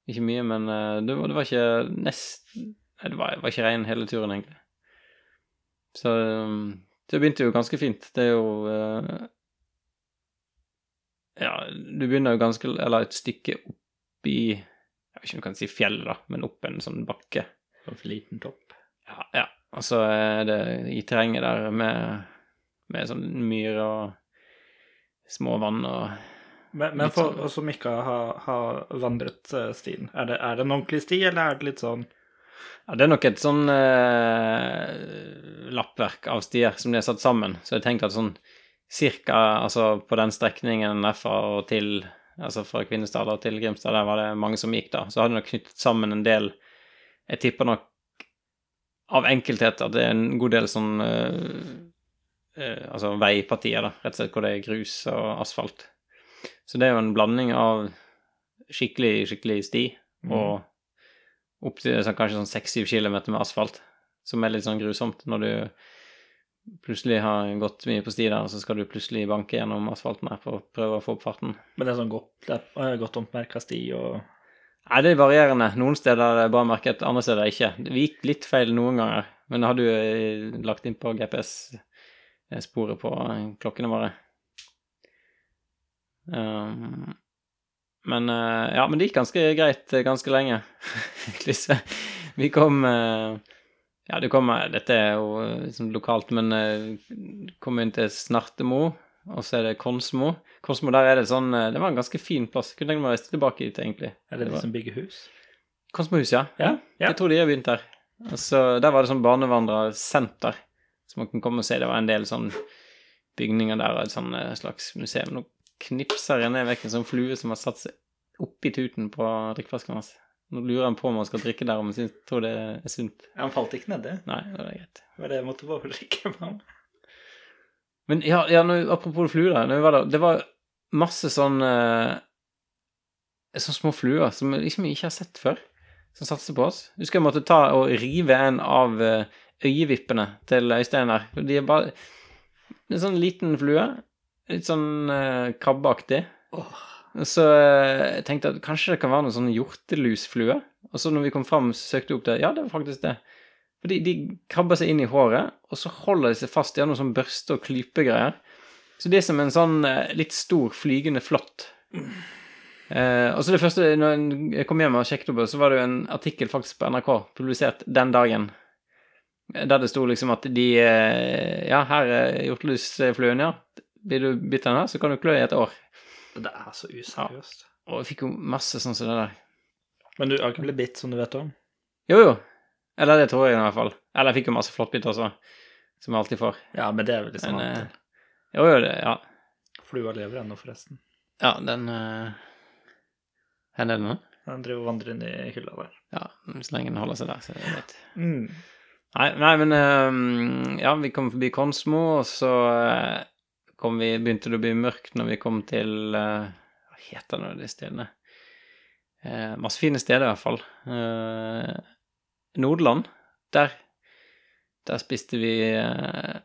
S2: Ikke mye, men eh, det, var, det var ikke nest... Nei, det var, det var ikke regn hele turen, egentlig. Så um, det begynte jo ganske fint. Det er jo eh, Ja, du begynner jo ganske Eller et stykke opp i Jeg vet ikke om du kan si fjellet, da, men opp en sånn bakke.
S1: For liten topp.
S2: Ja, ja. Og så er det i terrenget der med, med sånn myr og små vann og
S1: Men, men
S2: Litt
S1: for
S2: sånn-
S1: oss som ikke har, har vandret eh, stien, er det, er det en ordentlig sti, eller er det litt sånn
S2: Ja, det er nok et sånn eh, lappverk av stier som de har satt sammen. Så jeg tenkte at sånn cirka altså på den strekningen derfra og til Altså fra Kvinesdal og til Grimstad, der var det mange som gikk, da. Så hadde de nok knyttet sammen en del Jeg tipper nok av enkelthet at det er en god del sånn eh, eh, Altså veipartier, da. Rett og slett hvor det er grus og asfalt. Så det er jo en blanding av skikkelig, skikkelig sti
S1: Mm.
S2: og opp til sånn, kanskje sånn 6-7 km med asfalt, som er litt sånn grusomt når du plutselig har gått mye på sti der, og så skal du plutselig banke gjennom asfalten her for å prøve å få opp farten.
S1: Men det er sånn godt, det er eh, godt ommerka sti og
S2: Nei, det er varierende. Noen steder er det bra merket, andre steder ikke. Vi gikk litt feil noen ganger, men det hadde jo eh, lagt inn på GPS-sporet på eh, klokkene våre. Um, men eh, Ja, men det gikk ganske greit eh, ganske lenge, egentlig. så Vi kom eh, Ja, det kom eh, Dette er jo eh, liksom lokalt, men eh, kom inn til Snartemo, og så er det Konsmo. Konsmo, der er det sånn eh, Det var en ganske fin plass. Kunne tenkt meg å reise tilbake dit, egentlig.
S1: Er det
S2: var-
S1: de som bygger hus?
S2: Konsmohus, ja.
S1: Ja, ja.
S2: Jeg tror de har begynt der. Og så Der var det sånn barnevandrersenter, så man kan komme og se. Det var en del sånn bygninger der og et sånn eh, slags museum. Nå knipser jeg ned vekk en sånn flue som har satt seg oppi tuten på drikkeflasken hans. Nå lurer han på om han skal drikke der, om han syns- tror det er sunt.
S1: Han falt ikke nedi.
S2: Nei, da er det greit.
S1: Det var det jeg måtte bare forsikre meg om.
S2: Men ja, ja nå- apropos fluer, da, når vi var der, det var masse sånn eh, Sånne små fluer som jeg liksom ikke har sett før, som satser på oss. Husker jeg måtte ta og rive en av eh, øyevippene til Øystein der. for De er bare En sånn liten flue. Litt sånn eh, krabbeaktig.
S1: Åh,
S2: Og så eh, jeg tenkte jeg at kanskje det kan være noen sånne hjortelusflue. Og så når vi kom fram, så søkte jeg opp det. Ja, det var faktisk det. Fordi de krabber seg inn i håret, og så holder de seg fast. De har noen sånn børste- og klypegreier. Så det er som en sånn eh, litt stor flygende flått. Eh, og så det første, når en- jeg kom hjem og sjekket opp, det, så var det jo en artikkel faktisk på NRK publisert den dagen. eh, Der det sto liksom at de eh, Ja, her er hjortelusfluen, ja. Blir du bitt av den her, så kan du klø i et år.
S1: det er så useriøst.
S2: Og jeg fikk jo masse sånn som det der.
S1: Men du har ikke blitt bitt, som du vet om?
S2: Jo, jo. Eller det tror jeg i hvert fall. Eller jeg fikk jo masse flåttbiter også, som jeg alltid får.
S1: Ja, men det er vel liksom
S2: Men, eh,
S1: annet.
S2: Jo, jo, det, ja.
S1: Flua lever ennå, forresten.
S2: Ja, den eh, Hvor er den nå?
S1: Den driver og vandrer inn i hylla der.
S2: Ja, så lenge den holder seg der, så er det greit.
S1: Mm.
S2: Nei, nei men eh, Ja, vi kom forbi Konsmo, og så eh, kom vi, begynte det å bli mørkt når vi kom til eh, Hva heter nå de stedene? Eh, masse fine steder, i hvert fall. Eh, Nordland, der Der spiste vi eh,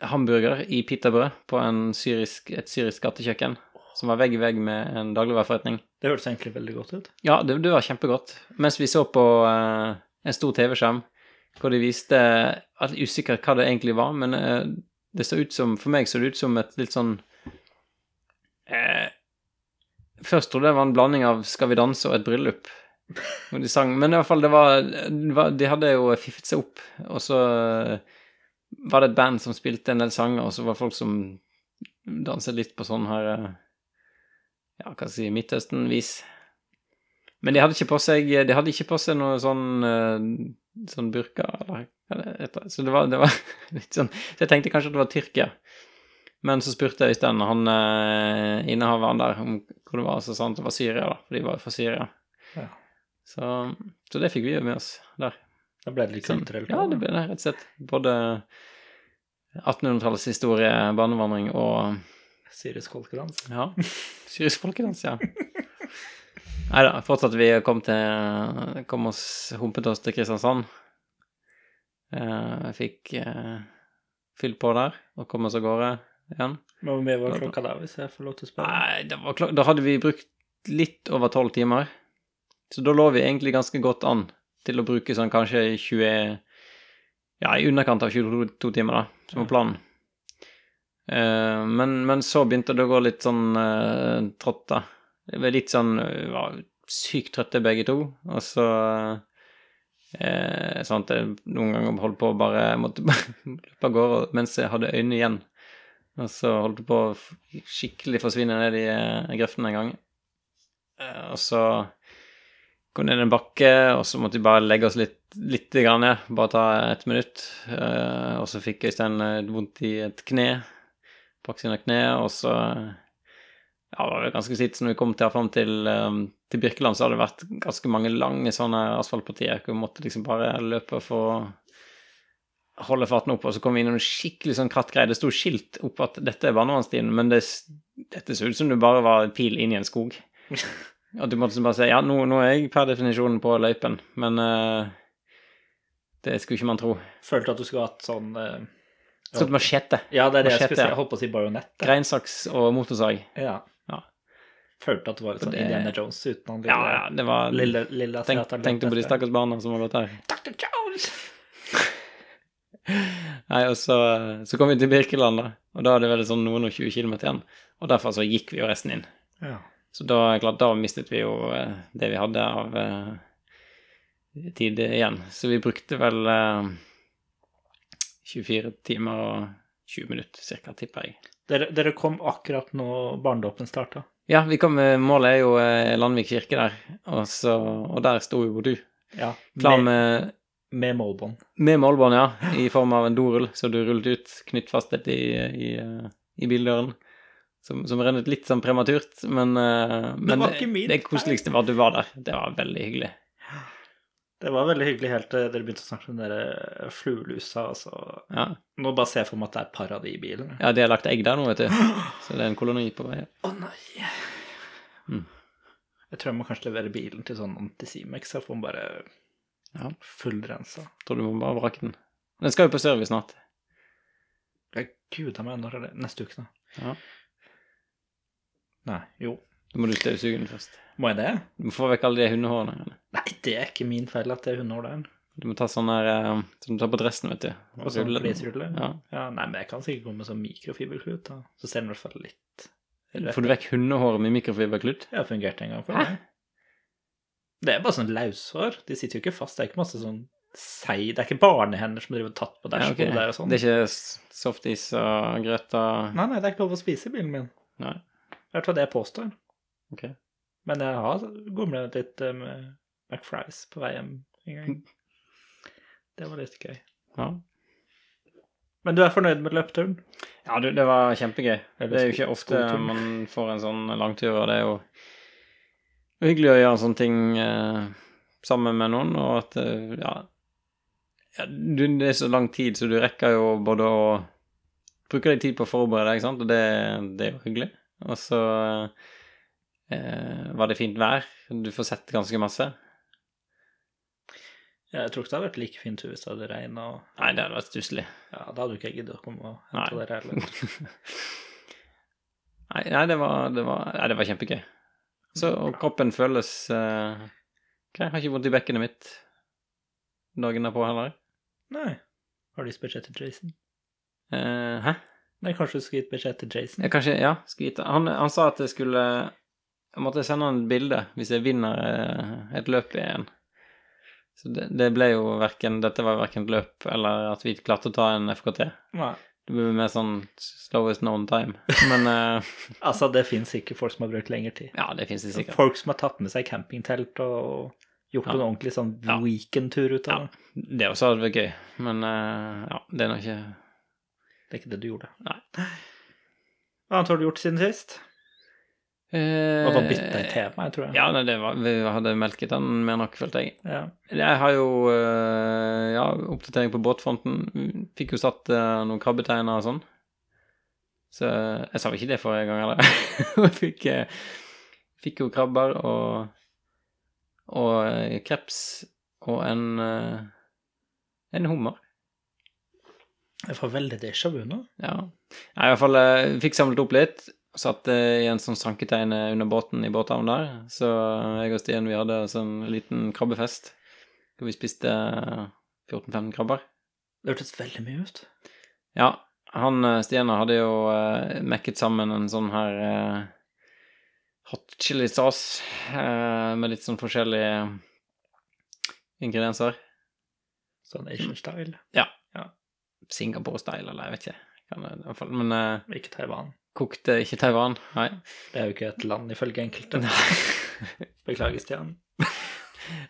S2: hamburger i pitabrød på en syrisk, et syrisk gatekjøkken som var vegg i vegg med en dagligvareforretning.
S1: Det hørtes egentlig veldig godt ut.
S2: Ja, det, det var kjempegodt. Mens vi så på eh, en stor TV-skjerm hvor de viste eh, at jeg er usikker hva det egentlig var, men eh, det så ut som For meg så det ut som et litt sånn eh, Først trodde jeg det var en blanding av Skal vi danse og et bryllup. Hvor de sang. Men i hvert fall, det var, det var De hadde jo fiffet seg opp, og så eh, var det et band som spilte en del sanger, og så var det folk som danset litt på sånn her eh, Ja, hva skal jeg si Midtøsten-vis. Men de hadde ikke på seg, eh, de hadde ikke på seg noe sånn, eh, sånn burka, eller hva det heter. Så det var, det var litt sånn Så jeg tenkte kanskje at det var Tyrkia. Men så spurte Øystein, han eh, innehaveren der, om hvor det var, så sa han at det var Syria, da, for de var jo fra Syria.
S1: Ja.
S2: Så, så det fikk vi jo med oss der.
S1: Da ble det litt
S2: Sånn.
S1: kulturelt.
S2: Ja,
S1: også.
S2: det ble det, rett og slett. Både 1800-tallets historie, barnevandring og
S1: Syrisk folkedans.
S2: Ja. Syrisk folkedans, ja. Nei da, fortsatt vi kom til Kom oss humpet oss til Kristiansand. Eh, fikk eh, fyll på der og kom oss av gårde igjen.
S1: Men hvor mye var klokka da, hvis jeg får lov til å spørre?
S2: Nei, det var klart Da hadde vi brukt litt over tolv timer. Så da lå vi egentlig ganske godt an til å bruke sånn kanskje 20 Ja, i underkant av 22 timer, da, som var planen. Eh, men, men så begynte det å gå litt sånn eh, trått, da. Vi var litt sånn Vi var sykt trøtte begge to, og så eh, Sånn at jeg noen ganger holdt på å bare jeg måtte bare løpe av gårde mens jeg hadde øynene igjen. Og så holdt jeg på å f- skikkelig forsvinne ned i eh, grøften en gang. Eh, Og så kom jeg ned en bakke, og så måtte vi bare legge oss litt, litt grann ned. Bare ta et minutt. Eh, Og så fikk Øystein eh, vondt i et kne. Brakk sine kne, og så ja, det var vel ganske slitsomt når vi kom til, fram til, eh, til Birkeland, så hadde det vært ganske mange lange sånne asfaltpartier. Hvor vi måtte liksom bare løpe for å holde farten opp, og så kom vi inn i noen skikkelig sånn krattgreier. Det sto skilt opp at dette er barnevernstien, men det, s- dette så ut som du bare var en pil inn i en skog. At du måtte liksom bare si ja, nå, nå er jeg per definisjon på løypen, men eh, det skulle ikke man tro.
S1: Følte at du skulle hatt sånn eh,
S2: Så et machete,
S1: Ja, det er det jeg
S2: Machete,
S1: skulle si.
S2: ja.
S1: Jeg holdt på å si bajonett.
S2: greinsaks og motorsag.
S1: Ja.
S2: Ja.
S1: Følte at det var litt
S2: Og
S1: sånn
S2: det-
S1: Indiana Jones uten han
S2: Ja,
S1: lille
S2: ja, det var
S1: Lille, lille
S2: tenk,
S1: asiateren
S2: Tenkte på de
S1: etter.
S2: stakkars barna som har gått der.
S1: Dr. Jones!
S2: Nei, og så, så kom vi til Birkeland, da, og da hadde det vel sånn noen og 20 km igjen. Og derfor så gikk vi jo resten inn.
S1: Ja.
S2: Så da, er det klart, da mistet vi jo eh, det vi hadde av eh, tid igjen. Så vi brukte vel eh, 24 timer og 20 minutter, cirka, tipper jeg.
S1: Dere, dere kom akkurat når barnedåpen starta.
S2: Ja, vi kom, eh, målet er jo eh, Landvik kirke der, og, så, og der sto jo du.
S1: Ja.
S2: Klar
S1: med,
S2: med,
S1: med målbånd.
S2: med målbånd, ja, i form av en dorull, så du rullet ut knyttfastet i, i, eh, i bildøren. Som, som rennet litt sånn prematurt, men, eh, men
S1: var ikke min
S2: det
S1: feil.
S2: koseligste var at du var der. Det var veldig hyggelig.
S1: Det var veldig hyggelig helt til dere begynte å snakke om dere fluelusa. Altså.
S2: Ja.
S1: Nå bare ser jeg for meg at det er et par av de i bilen.
S2: Ja, de har lagt egg der nå, vet du. Så det er en koloni på vei.
S1: Å nei.
S2: Mm.
S1: Jeg tror jeg må kanskje levere bilen til sånn Antisimex, så får man bare
S2: Ja.
S1: fullrensa.
S2: Tror du må bare vrake den. Den skal jo på service snart.
S1: Ja, gud a meg, når er det? Neste uke, da?
S2: Ja.
S1: Nei, jo.
S2: Da må du støvsuge den først.
S1: Må jeg det?
S2: Du må få vekk alle de hundehårene. Janne.
S1: Nei, det er ikke min feil at det er hundehår der.
S2: Du må ta sånn her eh, som du tar på dressen, vet du.
S1: Og sånn
S2: rulle den.
S1: flisrulle.
S2: Ja.
S1: Ja, nei, men jeg kan sikkert gå med sånn mikrofiberklut, da. Så ser den i hvert fall litt
S2: Får du vekk hundehåret med mikrofiberklutt?
S1: Det har fungert en gang for
S2: Hæ?
S1: meg. Det er bare sånn laushår. De sitter jo ikke fast. Det er ikke masse sånn sei Det er ikke barnehender som driver og tatt på
S2: Ja, ok.
S1: dashbordet der og sånn.
S2: Det er ikke s- softis og grøta
S1: Nei, nei, det er ikke lov å spise i bilen min.
S2: Nei.
S1: Det er i hvert fall det jeg påstår.
S2: Ok.
S1: Men jeg har gomlet litt eh, med McFries på vei hjem en gang. Det var litt gøy.
S2: Ja,
S1: Men du er fornøyd med løpeturen?
S2: ja du, det var kjempegøy.
S1: Eller
S2: Det er jo
S1: sko-
S2: ikke ofte
S1: skotur.
S2: man får en sånn langtur, og det er jo hyggelig å gjøre sånne ting eh, sammen med noen, og at eh, ja, ja du, Det er så lang tid, så du rekker jo både å bruke deg tid på å forberede deg, ikke sant, og det, det er jo hyggelig. Og så eh, var det fint vær, du får sett ganske masse.
S1: Ja, Jeg tror ikke det hadde vært like fint hvis det hadde regn og
S2: Nei, det hadde vært stusslig.
S1: Ja, da hadde jo ikke jeg giddet å komme og hente
S2: Nei.
S1: dere heller.
S2: nei, nei, det var, det var, nei, det var kjempegøy. Så og kroppen føles eh, grei. Har ikke vondt i bekkenet mitt dagen derpå heller.
S1: Nei. Har du gitt beskjed til Jason?
S2: Eh, hæ?
S1: Nei, kanskje du skulle gitt beskjed til Jason?
S2: Jeg, kanskje, ja, skal gitt- han, han sa at jeg skulle Jeg måtte sende han et bilde hvis jeg vinner eh, et løp igjen. Så det, det ble jo verken Dette var verken et løp eller at vi klarte å ta en FKT.
S1: Nei.
S2: Det ble mer sånn slowest known time. Men eh,
S1: Altså, det fins sikkert folk som har brukt lengre tid.
S2: ja, det fins det sikkert.
S1: Folk som har tatt med seg campingtelt og gjort
S2: Ja.
S1: en ordentlig sånn
S2: Ja.
S1: weekendtur ut av det.
S2: Det også hadde vært gøy, men eh, ja, det er nå ikke
S1: Det er ikke det du gjorde.
S2: Nei.
S1: Hva annet har du gjort siden sist?
S2: Eh,
S1: Og bare bytta i tema, jeg tror jeg.
S2: Ja, nei, det var, vi hadde melket den mer nok, følte jeg.
S1: Ja.
S2: Jeg har jo eh, ja, oppdatering på båtfronten. Fikk jo satt eh, noen krabbeteiner og sånn. Så eh, jeg sa vel ikke det forrige gang heller. Jeg fikk, eh, fikk jo krabber og, og eh, kreps og en, eh, en hummer.
S1: Jeg får veldig déjà vu nå.
S2: Ja. Jeg i hvert fall eh, fikk samlet opp litt. Satt eh, i en sånn sanketeine under båten i båthavn der. Så eh, jeg og Stian vi hadde sånn liten krabbefest. Hvor vi spiste eh, 14-15 krabber.
S1: Det hørtes veldig mye ut.
S2: Ja, han eh, Stian hadde jo eh, mekket sammen en sånn her eh, hot chili sauce eh, med litt sånn forskjellige ingredienser.
S1: Sånn Asian-style.
S2: Singapore-style, eller jeg vet ikke. Kan, i hvert fall, men eh,
S1: Ikke Taiwan.
S2: kokte ikke Taiwan, nei.
S1: Det er jo ikke et land, ifølge enkelte. Beklager, Stian.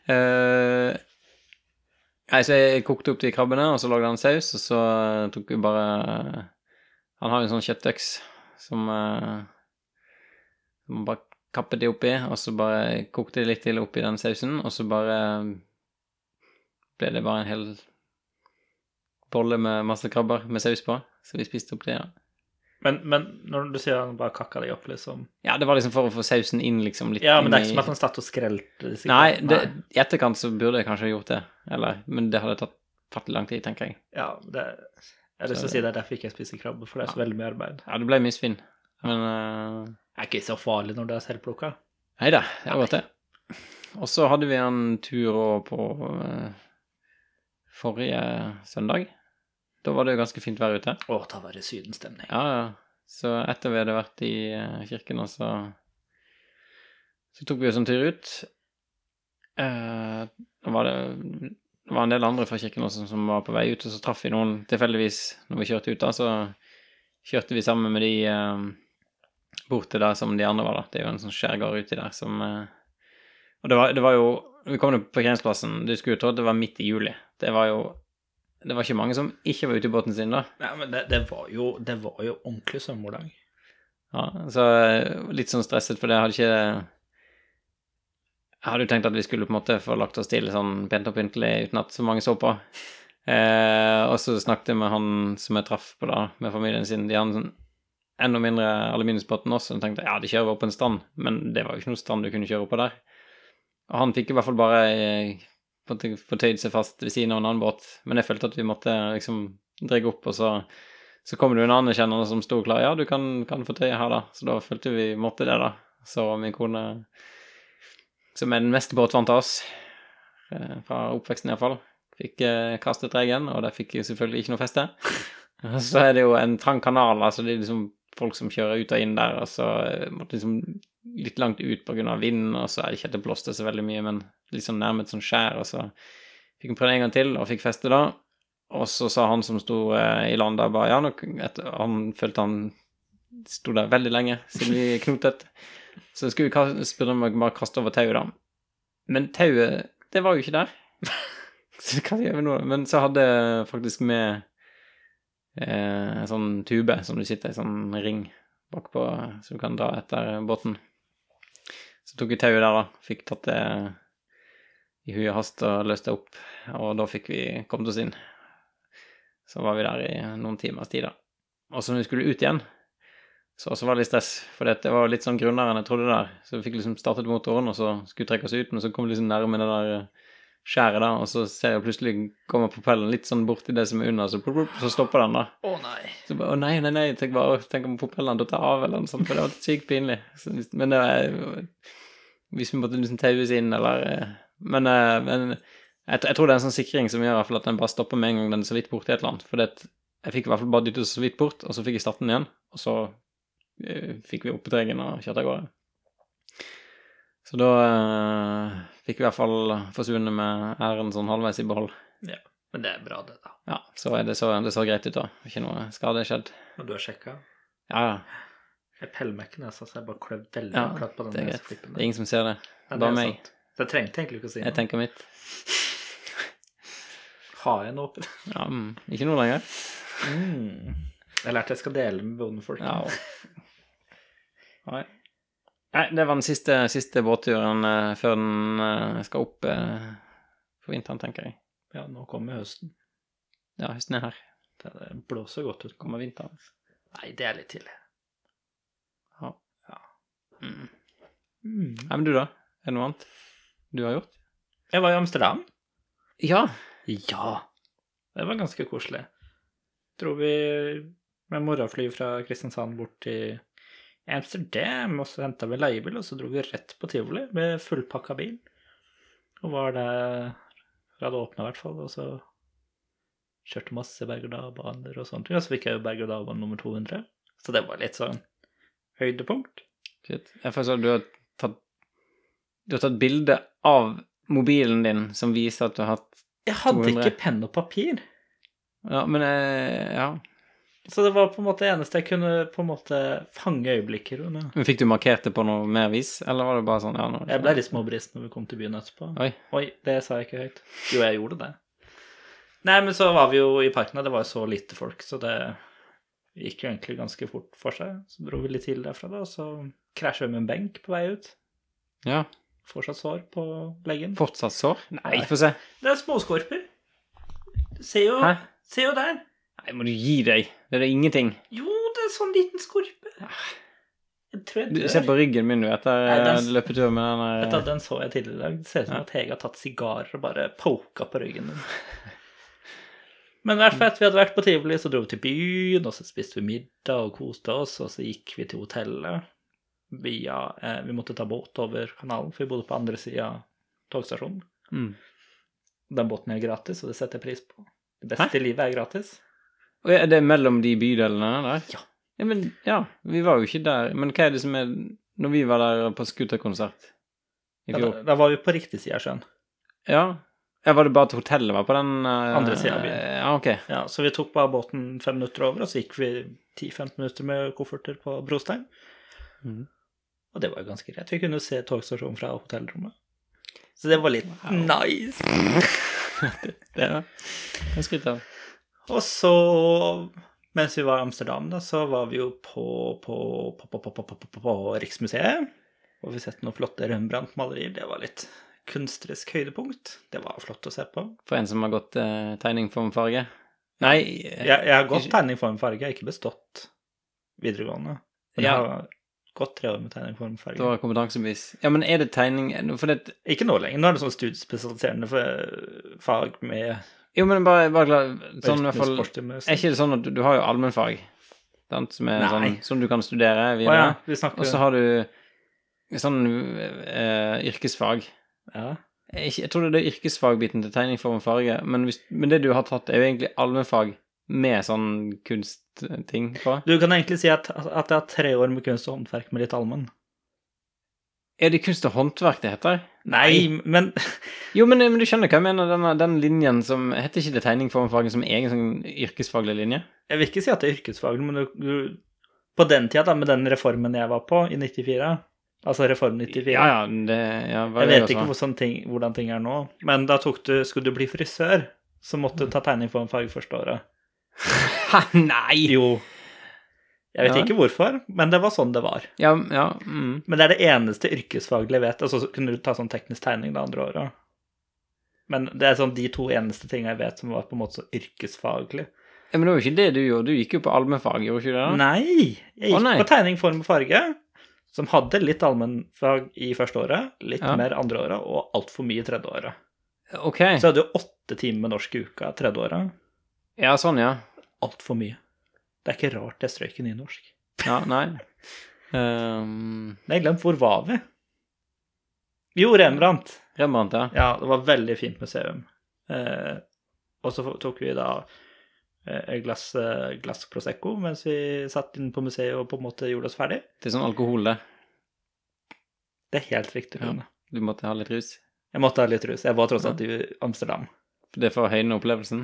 S2: Eh, Nei, så jeg kokte opp de krabbene, og så lagde han saus, og så eh, tok vi bare eh, Han har jo en sånn kjøttøks som eh, Man bare kappet de oppi, og så bare kokte de litt til oppi den sausen, og så bare eh, ble det bare en hel bolle med masse krabber med saus på, så vi spiste opp det, ja.
S1: Men, men når du sier han bare kakka deg opp, liksom
S2: Ja, det var liksom for å få sausen inn, liksom, litt
S1: Ja, men det er
S2: inn i-
S1: ikke som at han satt og skrelte disse
S2: Nei,
S1: kattene.
S2: det, i etterkant så burde jeg kanskje gjort det. Eller, men det hadde tatt fattelig lang tid, tenker jeg.
S1: Ja, det Jeg har lyst til å si det er derfor ikke jeg spiser krabbe, for det er så veldig mye arbeid.
S2: Ja, det ble mye svinn. Men uh,
S1: Det er ikke så farlig når du er selvplukka.
S2: Nei da, det var godt, det. Og så hadde vi en tur òg på eh, forrige søndag. Da var det jo ganske fint vær ute.
S1: Å, da var det sydenstemning.
S2: Ja, ja. Så etter vi hadde vært i eh, kirken, og så Så tok vi oss en tur ut. Eh, Da var det det var en del andre fra kirken også som var på vei ut, og så traff vi noen tilfeldigvis når vi kjørte ut. da, Så kjørte vi sammen med de eh, bort til der som de andre var, da. Det er jo en sånn skjærgård uti der som eh, Og det var, det var jo Vi kom jo på parkeringsplassen, du skulle jo tro at det var midt i juli. Det var jo Det var ikke mange som ikke var ute i båten sin da.
S1: Nei, men det, det, var jo, det var jo ordentlig sommerdag.
S2: Ja, så eh, litt sånn stresset, for det hadde ikke Jeg hadde jo tenkt at vi skulle på en måte få lagt oss til sånn pent og pyntelig uten at så mange så på. Eh, og så snakket jeg med han som jeg traff på da, med familien sin. De hadde en sånn enda mindre aluminiumsbåt enn oss, og jeg tenkte ja, de kjører opp på en strand, men det var jo ikke noen strand du kunne kjøre opp på der. Og han fikk i hvert fall bare eh, på en måte fortøyd seg fast ved siden av en annen båt, men jeg følte at vi måtte liksom dra opp, og så så kom det jo en annen kjenner som sto klar. Ja, du kan, kan få tøyet her, da. Så da følte vi måtte det, da. Så min kone, som er den mest båtvante av oss, eh, fra oppveksten iallfall, fikk eh, kastet regelen, og der fikk jeg selvfølgelig ikke noe feste. Og så er det jo en trang kanal, altså det er liksom folk som kjører ut og inn der, og så eh, måtte liksom litt langt ut på grunn av vinden, og så er det ikke at det blåste så veldig mye, men litt sånn nærme et sånt skjær, og så fikk hun prøve en gang til, og fikk feste da. Og så sa han som sto eh, i land der, bare ja, nå, etter, han følte han sto der veldig lenge siden vi knotet. Så skulle vi ka- spørre om å bare kaste over tauet, da. Men tauet, det var jo ikke der. Så hva gjør vi nå? Men så hadde jeg faktisk med eh, en sånn tube som du sitter i, sånn ring bakpå, så du kan dra etter båten. Så tok vi tauet der, da. Fikk tatt det i hui og hast og løst det opp. Og da fikk vi kommet oss inn. Så var vi der i noen timers tid, da. Og så når vi skulle ut igjen, så også var det litt stress, for det var litt sånn grunnere enn jeg trodde der. Så vi fikk liksom startet motoren, og så skulle vi trekke oss ut, men så kom vi liksom nærme det der eh, skjæret, da, og så ser jeg plutselig kommer propellen litt sånn borti det som er under, så, plup, plup, så stopper den, da.
S1: Å nei.
S2: Så bare, å nei, nei, nei, tenk, bare, å, tenk om propellene detter av eller noe sånt, for det var sykt pinlig. Så, hvis- men det var, eh, hvis vi måtte liksom taues inn, eller eh, Men, eh, men jeg, tr- jeg tror det er en sånn sikring som gjør i hvert fall at den bare stopper med en gang den er så vidt borti et eller annet. For det, jeg fikk i hvert fall bare dyttet så vidt bort, og så fikk jeg starte den igjen, og så eh, fikk vi opp på tregen og kjørte av gårde. Så da eh, fikk vi i hvert fall forsvunnet med æren sånn halvveis i behold.
S1: Men det er bra, det, da.
S2: Ja, så er det så, det så greit ut, da. Ikke noe skade skjedd.
S1: Når du har sjekka.
S2: Ja, ja.
S1: Jeg peller meg ikke nesa, så jeg bare klør veldig
S2: Ja,
S1: hardt på den
S2: det er greit.
S1: neseflippen.
S2: Det er ingen som ser det.
S1: Ja, det
S2: bare
S1: er
S2: meg.
S1: sant. Så jeg trengte egentlig ikke å si
S2: Jeg
S1: noe.
S2: tenker mitt.
S1: Har jeg noe åpen?
S2: Ja, mm, ikke nå lenger.
S1: Mm. Jeg lærte jeg skal dele med bondefolk.
S2: Ja. Nei. Nei, det var den siste, siste båtturen eh, før den eh, skal opp eh, for vinteren, tenker jeg.
S1: Ja, nå kommer høsten.
S2: Ja, høsten er her.
S1: Det det blåser godt ut.
S2: Kommer vinteren.
S1: Nei, det er litt tidlig.
S2: Ja. Mm.
S1: Mm.
S2: Nei, men du da? Er det noe annet du har gjort?
S1: Jeg var i Amsterdam.
S2: Ja.
S1: Ja. Det var ganske koselig. Dro vi med morgenfly fra Kristiansand bort til Amsterdam, og så henta vi leiebil, og så dro vi rett på tivoli med fullpakka bil. Og var der Vi hadde åpna, i hvert fall, og så kjørte masse berg-og-dal-baner og sånt. Og så fikk jeg jo berg-og-dal-bane nummer 200, så det var litt sånn høydepunkt.
S2: Shit. Jeg føler sånn at du har tatt Du har tatt bilde av mobilen din som viser at du har hatt
S1: Jeg hadde
S2: 200.
S1: ikke penn og papir.
S2: Ja, men eh, Ja.
S1: Så det var på en måte det eneste jeg kunne på en måte fange øyeblikker under.
S2: Men fikk du markert det på noe mer vis, eller var det bare sånn ja, nå,
S1: Jeg ble litt småbrist når vi kom til byen etterpå.
S2: Oi.
S1: Oi, det sa jeg ikke høyt. Jo, jeg gjorde det. Nei, men så var vi jo i parken, og det var jo så lite folk, så det gikk jo egentlig ganske fort for seg. Så dro vi litt tidlig derfra, da, og så krasja vi med en benk på vei ut.
S2: Ja.
S1: Fortsatt sår på leggen.
S2: Fortsatt sår?
S1: Nei.
S2: Få se.
S1: Det er småskorper. Se jo,
S2: Hæ?
S1: se jo der.
S2: Nei, må du gi deg. Det er da ingenting.
S1: Jo, det er sånn liten skorpe. Jeg tror jeg
S2: Ah. Du,
S1: dør.
S2: se på ryggen min, du, etter
S1: Nei, den-
S2: eh, løpetur med den der-
S1: Vet du, Den så jeg tidligere i dag. Det ser ut som at Hege har tatt sigarer og bare poka på ryggen din. Men i hvert fall etter vi hadde vært på tivoli, så dro vi til byen, og så spiste vi middag og koste oss, og så gikk vi til hotellet. Via, eh, vi måtte ta båt over kanalen, for vi bodde på andre sida av togstasjonen.
S2: Mm.
S1: Den båten er gratis, og det setter jeg pris på. Det beste i livet er gratis.
S2: Og er det mellom de bydelene der?
S1: Ja.
S2: ja. Men ja, vi var jo ikke der. Men hva er det som er Når vi var der på scooterkonsert i
S1: Da,
S2: fjor
S1: da var vi på riktig side av sjøen.
S2: Ja. ja. Var det bare at hotellet var på den eh,
S1: Andre siden av byen.
S2: Ja, ok.
S1: Ja, så vi tok bare båten fem minutter over, og så gikk vi 10-15 minutter med kofferter på brostein. Mm.
S2: Mhm.
S1: Og det var jo ganske greit. Vi kunne jo se togstasjonen fra hotellrommet. Så det var litt nice.
S2: Det er det. Skryt av.
S1: Og så, mens vi var i Amsterdam, da, så var vi jo på, på, på, på, på, på, på, på, på Riksmuseet. Og vi sett noen flotte Rembrandt-malerier. Det var litt kunstnerisk høydepunkt. Det var flott å se på.
S2: For en som har gått eh, tegning for en farge. Nei
S1: Jeg, jeg har godt tegning form farge. Jeg har ikke bestått videregående. Men
S2: Ja.
S1: jeg har gått tre år med tegning form
S2: Det
S1: farge.
S2: var kompetansebevis. Ja, men er det tegning For det
S1: Ikke nå lenger. Nå er det sånn studiespesialiserende f- fag med
S2: Jo, men bare, bare klar, sånn i hvert fall Er
S1: sportsgymnastikk.
S2: ikke det sånn at du, du har jo allmennfag, sant, som er
S1: Nei.
S2: sånn som du kan
S1: Å
S2: studere
S1: ja,
S2: videre?
S1: vi snakker
S2: Og så har du sånn eh, yrkesfag.
S1: ja.
S2: Jeg, ikke- jeg tror det er yrkesfagbiten til tegning, form og farge, men, hvis, men det du har tatt, er jo egentlig allmennfag med sånn kunstting på.
S1: Du kan egentlig si at, at jeg har tre år med kunst og håndverk med litt allmenn.
S2: Er det kunst og håndverk det heter?
S1: Nei, men
S2: Jo, men, men du skjønner hva jeg mener, denne, den linjen som Heter ikke det tegning, form og farge som egen sånn yrkesfaglig linje?
S1: jeg vil ikke si at det er yrkesfaglig, men du, du På den tida, da, med den reformen jeg var på, i 94, altså Reform 94
S2: Ja, ja, det ja, hva
S1: Jeg
S2: er det
S1: vet ikke
S2: også?
S1: hvor sånn ting, hvordan ting er nå, men da tok du Skulle du bli frisør, så måtte du ta tegning for en farge første året.
S2: Hæ, nei!
S1: Jo. Jeg vet
S2: Ja.
S1: ikke hvorfor, men det var sånn det var.
S2: Ja, ja, mm.
S1: Men det er det eneste yrkesfaglige jeg vet. Altså, så kunne du ta sånn teknisk tegning det andre året. Men det er sånn de to eneste tingene jeg vet som var på en måte så yrkesfaglig.
S2: Ja, men det var jo ikke det du gjorde. Du gikk jo på allmennfag, gjorde du ikke det? da?
S1: Nei! Jeg gikk
S2: Å, nei.
S1: på tegning, form og farge, som hadde litt allmennfag i første året, litt
S2: Ja.
S1: mer andre året og altfor mye tredje året.
S2: Ok.
S1: Så jeg hadde jo åtte timer med norsk i uka tredje året.
S2: Ja, sånn, ja.
S1: Altfor mye. Det er ikke rart jeg strøyk i nynorsk.
S2: Ja, nei. Um,
S1: Nei, jeg glemt, hvor var vi? Jo, Rembrandt.
S2: Rembrandt, ja.
S1: Ja, det var et veldig fint museum. Eh, og så tok vi da eh, et glass, eh, glass Prosecco mens vi satt inne på museet og på en måte gjorde oss ferdig.
S2: Det er sånn alkohol, det.
S1: Det er helt riktig. Rune.
S2: Du måtte ha litt rus.
S1: Jeg måtte ha litt rus. Jeg var tross alt i Amsterdam.
S2: For det er for å høyne opplevelsen.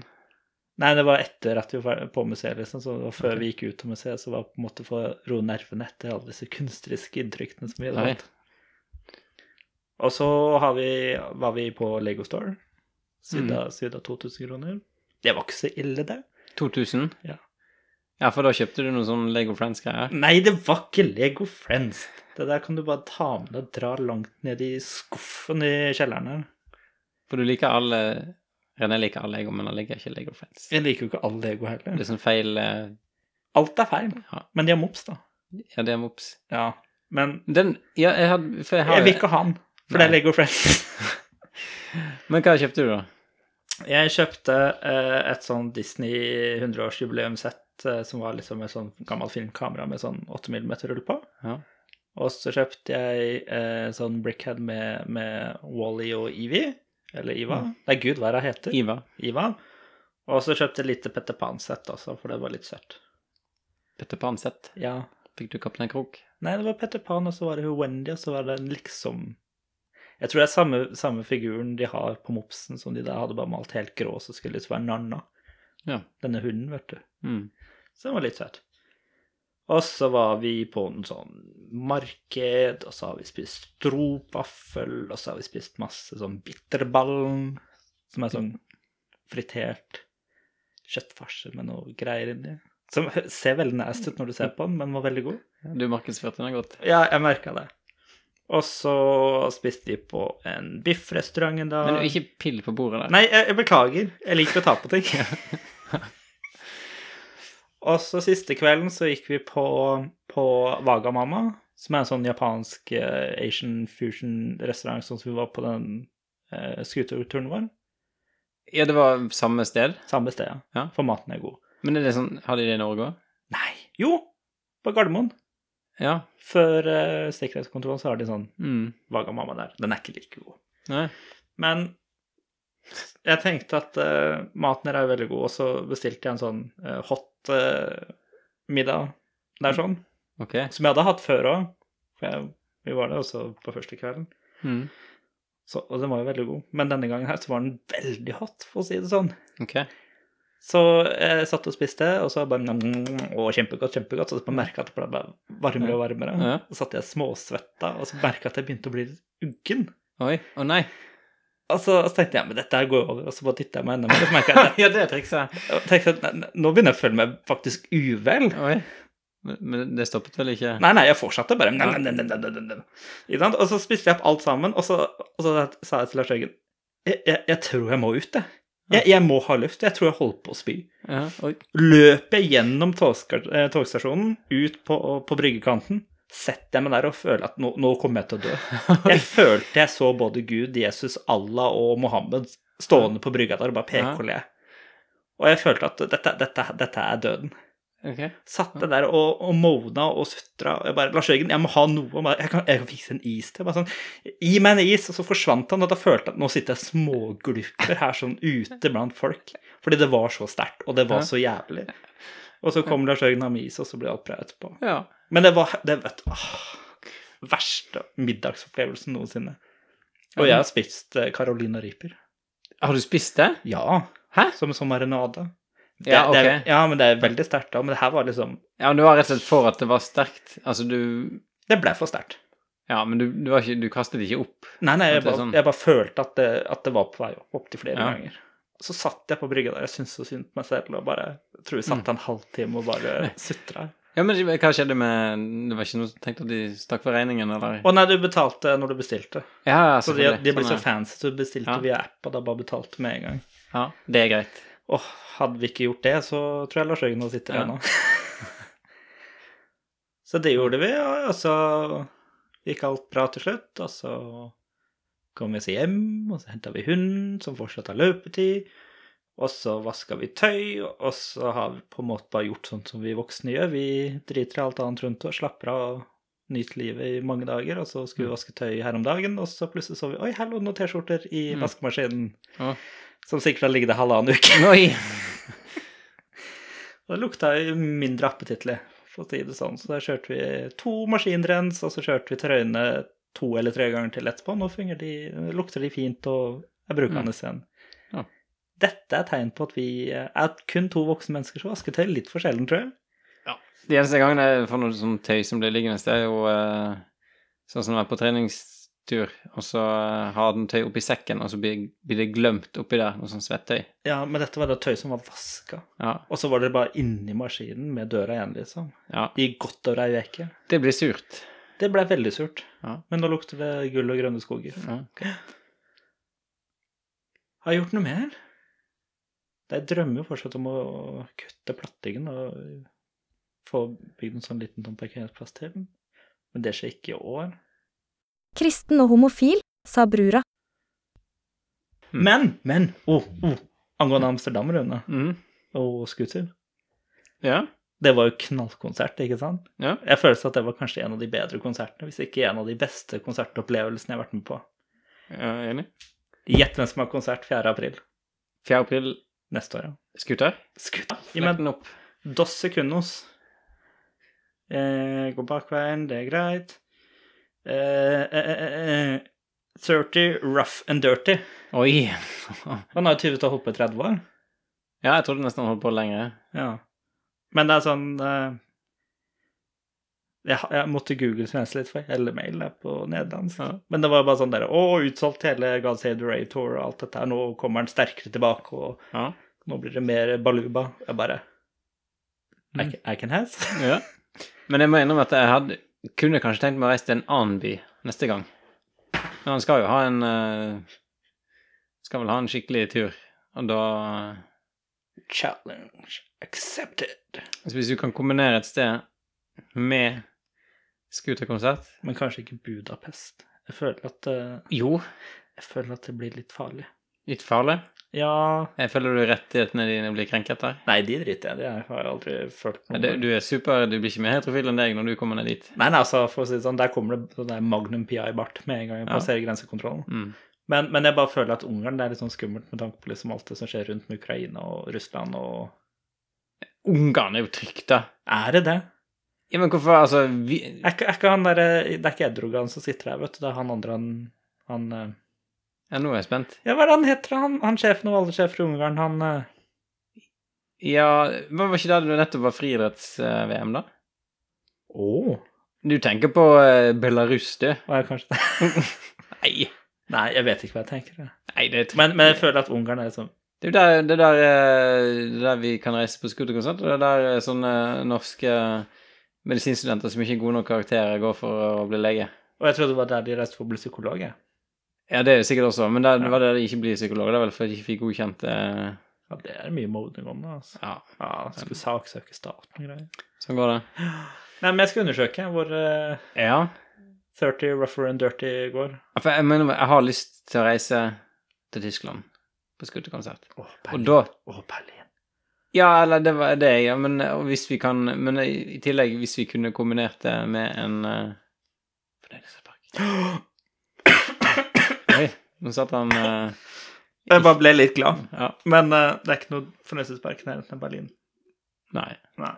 S1: Nei, det var etter at vi var ferdig på museet, liksom. Så det var før vi gikk ut av museet, så var det på en måte for å roe nervene etter alle disse kunstneriske inntrykkene som vi hadde
S2: Oi.
S1: hatt. Og så har vi, var vi på Lego Store. Sydda, sydda 2000 kroner. Det var ikke så ille, det.
S2: 2000?
S1: Ja.
S2: Ja, for da kjøpte du noe sånn Lego Friends-greier.
S1: Nei, det var ikke Lego Friends. Det der kan du bare ta med deg og dra langt ned i skuffen i kjelleren her.
S2: For du liker alle René liker alle Lego, men han liker ikke Lego Friends.
S1: Jeg liker jo ikke all Lego
S2: Det
S1: heller.
S2: er sånn feil eh,
S1: Alt er feil,
S2: Ja,
S1: men de har mops, da.
S2: ja det er mops.
S1: Ja, men
S2: Den Ja, jeg hadde For jeg har
S1: jeg vil ikke ha den, for det er Lego Friends.
S2: Men hva kjøpte du, da?
S1: Jeg kjøpte eh, et sånn Disney 100-årsjubileumssett eh, som var liksom et sånn gammelt filmkamera med sånn 8 mm rull på.
S2: Ja.
S1: Og så kjøpte jeg eh, sånn Brickhead med, med Wally og Evie, eller Iva. Nei, gud, hva er det han heter?
S2: Iva?
S1: Iva. Og så kjøpte jeg lite Petter Pan-sett også, for det var litt søtt.
S2: Petter Pan-sett?
S1: Ja.
S2: Fikk du Kaptein Krok?
S1: Nei, det var Petter Pan, og så var det hun Wendy, og så var det en liksom Jeg tror det er samme, samme figuren de har på mopsen som de der hadde bare malt helt grå, så skulle det liksom være Nanna.
S2: Ja.
S1: Denne hunden, vet du.
S2: Mm.
S1: Så den var litt søt. Og så var vi på en sånn marked, og så har vi spist stropaffel, og så har vi spist masse sånn bitterballen, som er sånn fritert kjøttfarse med noe greier inni. Som hø- ser veldig nasty ut når du ser på den, men var veldig god.
S2: Du markedsførte den godt.
S1: Ja, jeg merka det. Og så spiste vi på en biffrestaurant en dag.
S2: Men ikke pill på bordet der.
S1: Nei, jeg, jeg beklager. Jeg liker å ta på ting. og så siste kvelden så gikk vi på, på Wagamama, som er en sånn japansk eh, Asian fusion-restaurant sånn som vi var på den eh, skuterturen vår.
S2: Ja, det var samme sted.
S1: Samme sted, ja.
S2: Ja.
S1: For maten er god.
S2: Men er det sånn Har de det i Norge òg?
S1: Nei, jo! På Gardermoen.
S2: Ja.
S1: Før eh, sikkerhetskontrollen så har de sånn
S2: Mm.
S1: Wagamama der. Den er ikke like god.
S2: Nei.
S1: Men jeg tenkte at eh, maten her er veldig god, og så bestilte jeg en sånn eh, hot eh, middag der sånn,
S2: Ok.
S1: som jeg hadde hatt før òg. For jeg, vi var der også på første kvelden.
S2: Mm.
S1: Så, og den var jo veldig god. Men denne gangen her så var den veldig hot, for å si det sånn.
S2: Ok.
S1: Så eh, jeg satt og spiste, og så bare Å, kjempegodt, kjempegodt. Så jeg merka at det ble bare varmere og varmere.
S2: Ja.
S1: Så satt jeg småsvetta, og så merka jeg at jeg begynte å bli litt uggen.
S2: Oi. Å nei.
S1: Og så, så tenkte jeg men dette her går over, og så bare dytta jeg meg enda mer. og Så merka jeg at
S2: ja, det er trikset.
S1: Jeg tenkte at nei, nei, nå begynner jeg å føle meg faktisk uvel.
S2: Oi. Men- Men det stoppet vel ikke?
S1: Nei, nei, jeg fortsatte bare. Nei, nei, nei, nei, nei, nei, nei. Ikke sant? Og så spiste jeg opp alt sammen, og så, og så sa jeg til Lars Jørgen jeg, jeg, jeg tror jeg må ut, jeg. Jeg, jeg må ha luft. Jeg tror jeg holder på å spy.
S2: Ja. Oi.
S1: Løper jeg gjennom togska- eh, togstasjonen, ut på, på bryggekanten, setter jeg meg der og føler at nå, nå kommer jeg til å dø. Jeg følte jeg så både Gud, Jesus, Allah og Mohammed stående på brygga der og bare peke og le. Og jeg følte at dette, dette, dette er døden.
S2: Ok.
S1: Satt det der og, og mona og sutra. Og jeg bare, Lars Jørgen, jeg må ha noe. Han bare, Jeg kan, jeg kan fikse en is til. Bare sånn, Gi meg en is. Og så forsvant han, og da følte jeg at nå sitter jeg småglupper her sånn ute blant folk. Fordi det var så sterkt, og det var så jævlig. Og så kom Lars Jørgen og med is, og så ble alt bra etterpå.
S2: Ja.
S1: Men det var det vet, du, åh, verste middagsopplevelsen noensinne. Og jeg har spist eh, Carolina Reaper.
S2: Har du spist det?
S1: Ja.
S2: Hæ?
S1: Som, som marinade. Det-
S2: Ja,
S1: det er-
S2: ok.
S1: ja, men det er veldig sterkt da. Men det her var liksom
S2: Ja, men du var rett og slett for at det var sterkt. Altså, du
S1: Det ble for sterkt.
S2: Ja, men du, du, var ikke, du kastet ikke opp.
S1: Nei, nei, jeg
S2: At det er
S1: bare,
S2: sånn.
S1: jeg bare følte at det, at det var på vei opp, opp til flere
S2: Ja.
S1: ganger. Så satt jeg på brygga der, jeg syntes så synd på meg selv, og bare jeg tror vi satt
S2: Mm.
S1: en halvtime og bare sutra.
S2: Ja, men hva skjedde med Det var ikke noe som tenkte at de stakk for regningen, eller?
S1: Å nei, du betalte når du bestilte.
S2: Ja,
S1: Så de,
S2: selvfølgelig.
S1: de ble
S2: Sånn
S1: så
S2: er-
S1: fancy, så du bestilte
S2: Ja.
S1: via app, og da bare betalte med en gang.
S2: Ja, det er greit.
S1: Åh, hadde vi ikke gjort det, så tror jeg Lars Jørgen nå sitter
S2: Ja.
S1: her nå. så det gjorde vi, og så gikk alt bra til slutt, og så kom vi oss hjem, og så henta vi hunden, som fortsatt har løpetid, og så vaska vi tøy, og så har vi på en måte bare gjort sånn som vi voksne gjør. Vi driter i alt annet rundt og slapper av og nyter livet i mange dager, og så skulle vi
S2: Mm.
S1: vaske tøy her om dagen, og så plutselig så vi Oi, her lå det noen T-skjorter i
S2: Mm.
S1: vaskemaskinen,
S2: Å.
S1: som sikkert har ligget der halvannen uke.
S2: Oi!
S1: Og det lukta jo mindre appetittlig, for å si det sånn. Så da kjørte vi to maskinrens, og så kjørte vi trøyene to eller tre ganger til etterpå. Nå fungerer de, lukter de fint og er brukende igjen.
S2: Mm. Ja.
S1: Dette er tegn på at vi er kun to voksne mennesker som vasker tøy litt for sjelden, tror jeg.
S2: De eneste gangene jeg får noe sånn tøy som blir liggende, det er jo eh, sånn som å være på treningstur, og så eh, har den tøy oppi sekken, og så blir, blir det glemt oppi der, noe sånn svettøy.
S1: Ja, men dette var da tøy som var vaska.
S2: Ja,
S1: Og så var det bare inni maskinen med døra igjen, liksom.
S2: ja.
S1: I godt over ei uke.
S2: Det blir surt.
S1: Det ble veldig surt.
S2: Ja.
S1: Men nå lukter det gull og grønne skoger.
S2: Ja, ok.
S1: Har jeg gjort noe mer? Jeg drømmer jo fortsatt om å kutte plattingen og få bygd en sånn liten tom parkeringsplass til. Men det skjer ikke i år.
S3: Kristen og homofil, sa brura.
S2: Mm.
S1: Men, men, oh, oh, angående Amsterdam, Rune,
S2: Mhm.
S1: og scooter.
S2: Ja.
S1: Det var jo knallkonsert, ikke sant?
S2: Ja.
S1: Jeg føler at det var kanskje en av de bedre konsertene, hvis ikke en av de beste konsertopplevelsene jeg har vært med på.
S2: Jeg er enig.
S1: Gjett hvem som har konsert 4. april
S2: 4. april,
S1: neste år, ja.
S2: skuter.
S1: Skuta. I
S2: Flekk den opp.
S1: Dos Secundos. Eh, gå bakveien, det er greit. Eh, eh, eh, eh, 30 Rough and Dirty.
S2: Oi.
S1: Han har jo tydeligvis holdt på i 30 år.
S2: Ja, jeg trodde nesten han holdt på lenger.
S1: Ja. Men det er sånn eh, jeg, ha- jeg måtte google svensk litt, for hele mailen er på nederlandsk.
S2: Ja.
S1: Men det var bare sånn der Å, utsolgt hele God Save the Rave Tour og alt dette her. Nå kommer han sterkere tilbake, og
S2: Ja.
S1: nå blir det mer baluba. Jeg bare I,
S2: Mm.
S1: ca- I can has.
S2: ja. Men jeg må innrømme at jeg hadde, kunne kanskje tenkt meg å reise til en annen by neste gang. Men han skal jo ha en eh, Skal vel ha en skikkelig tur. Og da
S1: Challenge accepted.
S2: så altså Hvis du kan kombinere et sted med scooterkonsert
S1: Men kanskje ikke Budapest. Jeg føler at, eh,
S2: Jo,
S1: jeg føler at det blir litt farlig.
S2: litt farlig.
S1: Ja
S2: Jeg føler du rettighetene dine blir krenket der.
S1: Nei, de driter jeg i. Det har jeg aldri følt
S2: Ja,
S1: noe
S2: det- Du er super, du blir ikke mer heterofil enn deg når du kommer ned dit.
S1: Nei, nei, altså, for å si det sånn, der kommer det sånn der Magnum PI-bart med en gang jeg
S2: Ja.
S1: passerer grensekontrollen.
S2: Mm.
S1: Men, men jeg bare føler at Ungarn det er litt sånn skummelt med tanke på liksom alt det som skjer rundt med Ukraina og Russland og
S2: Ungarn er jo trygt, da.
S1: Er det det?
S2: Ja, men hvorfor, altså vi,
S1: Er ikke, er ikke han der, Det er ikke Edrogan som sitter der, vet du. Det er han andre han, han eh,
S2: ja, Nå er jeg spent.
S1: Ja, hva er det han heter, han, han sjefen og alle sjefer i Ungarn? Han eh,
S2: Ja, hva var ikke det du nettopp var friidretts-VM, da?
S1: Å!
S2: Du tenker på eh, Belarus, du?
S1: Hva er kanskje det?
S2: Nei.
S1: Nei, jeg vet ikke hva jeg tenker. jeg.
S2: Nei, det er trygt.
S1: Men, men jeg føler at Ungarn er liksom
S2: Det er jo der, det er der, eh, det er der vi kan reise på scooterkonsert, og det er der eh, sånne norske eh, medisinstudenter som ikke er gode nok karakterer, går for å bli lege.
S1: Og jeg trodde det var der de reiste for å bli psykolog. jeg.
S2: Ja, det er jo sikkert også, men det,
S1: Ja.
S2: det var der de ikke blir psykolog. Det er vel fordi de ikke fikk godkjent eh,
S1: Ja, det er mye modning om det. altså.
S2: Ja,
S1: Ja, Skulle saksøke staten og greier.
S2: sånn går det.
S1: Nei, men jeg skal undersøke hvor eh,
S2: Ja.
S1: 30 rougher and dirty går.
S2: For jeg mener, jeg har lyst til å reise til Tyskland på scooterkonsert.
S1: Å,
S2: Og da
S1: Å, Berlin.
S2: Ja, eller det var det, ja. Men eh, og hvis vi kan Men eh, i tillegg, hvis vi kunne kombinert det med en eh, fornøyelsespark Oi, nå satt han eh,
S1: Jeg bare ble litt glad.
S2: Ja.
S1: Men eh, det er ikke noe fornøyelsespark i nærheten av Berlin.
S2: Nei.
S1: Nei.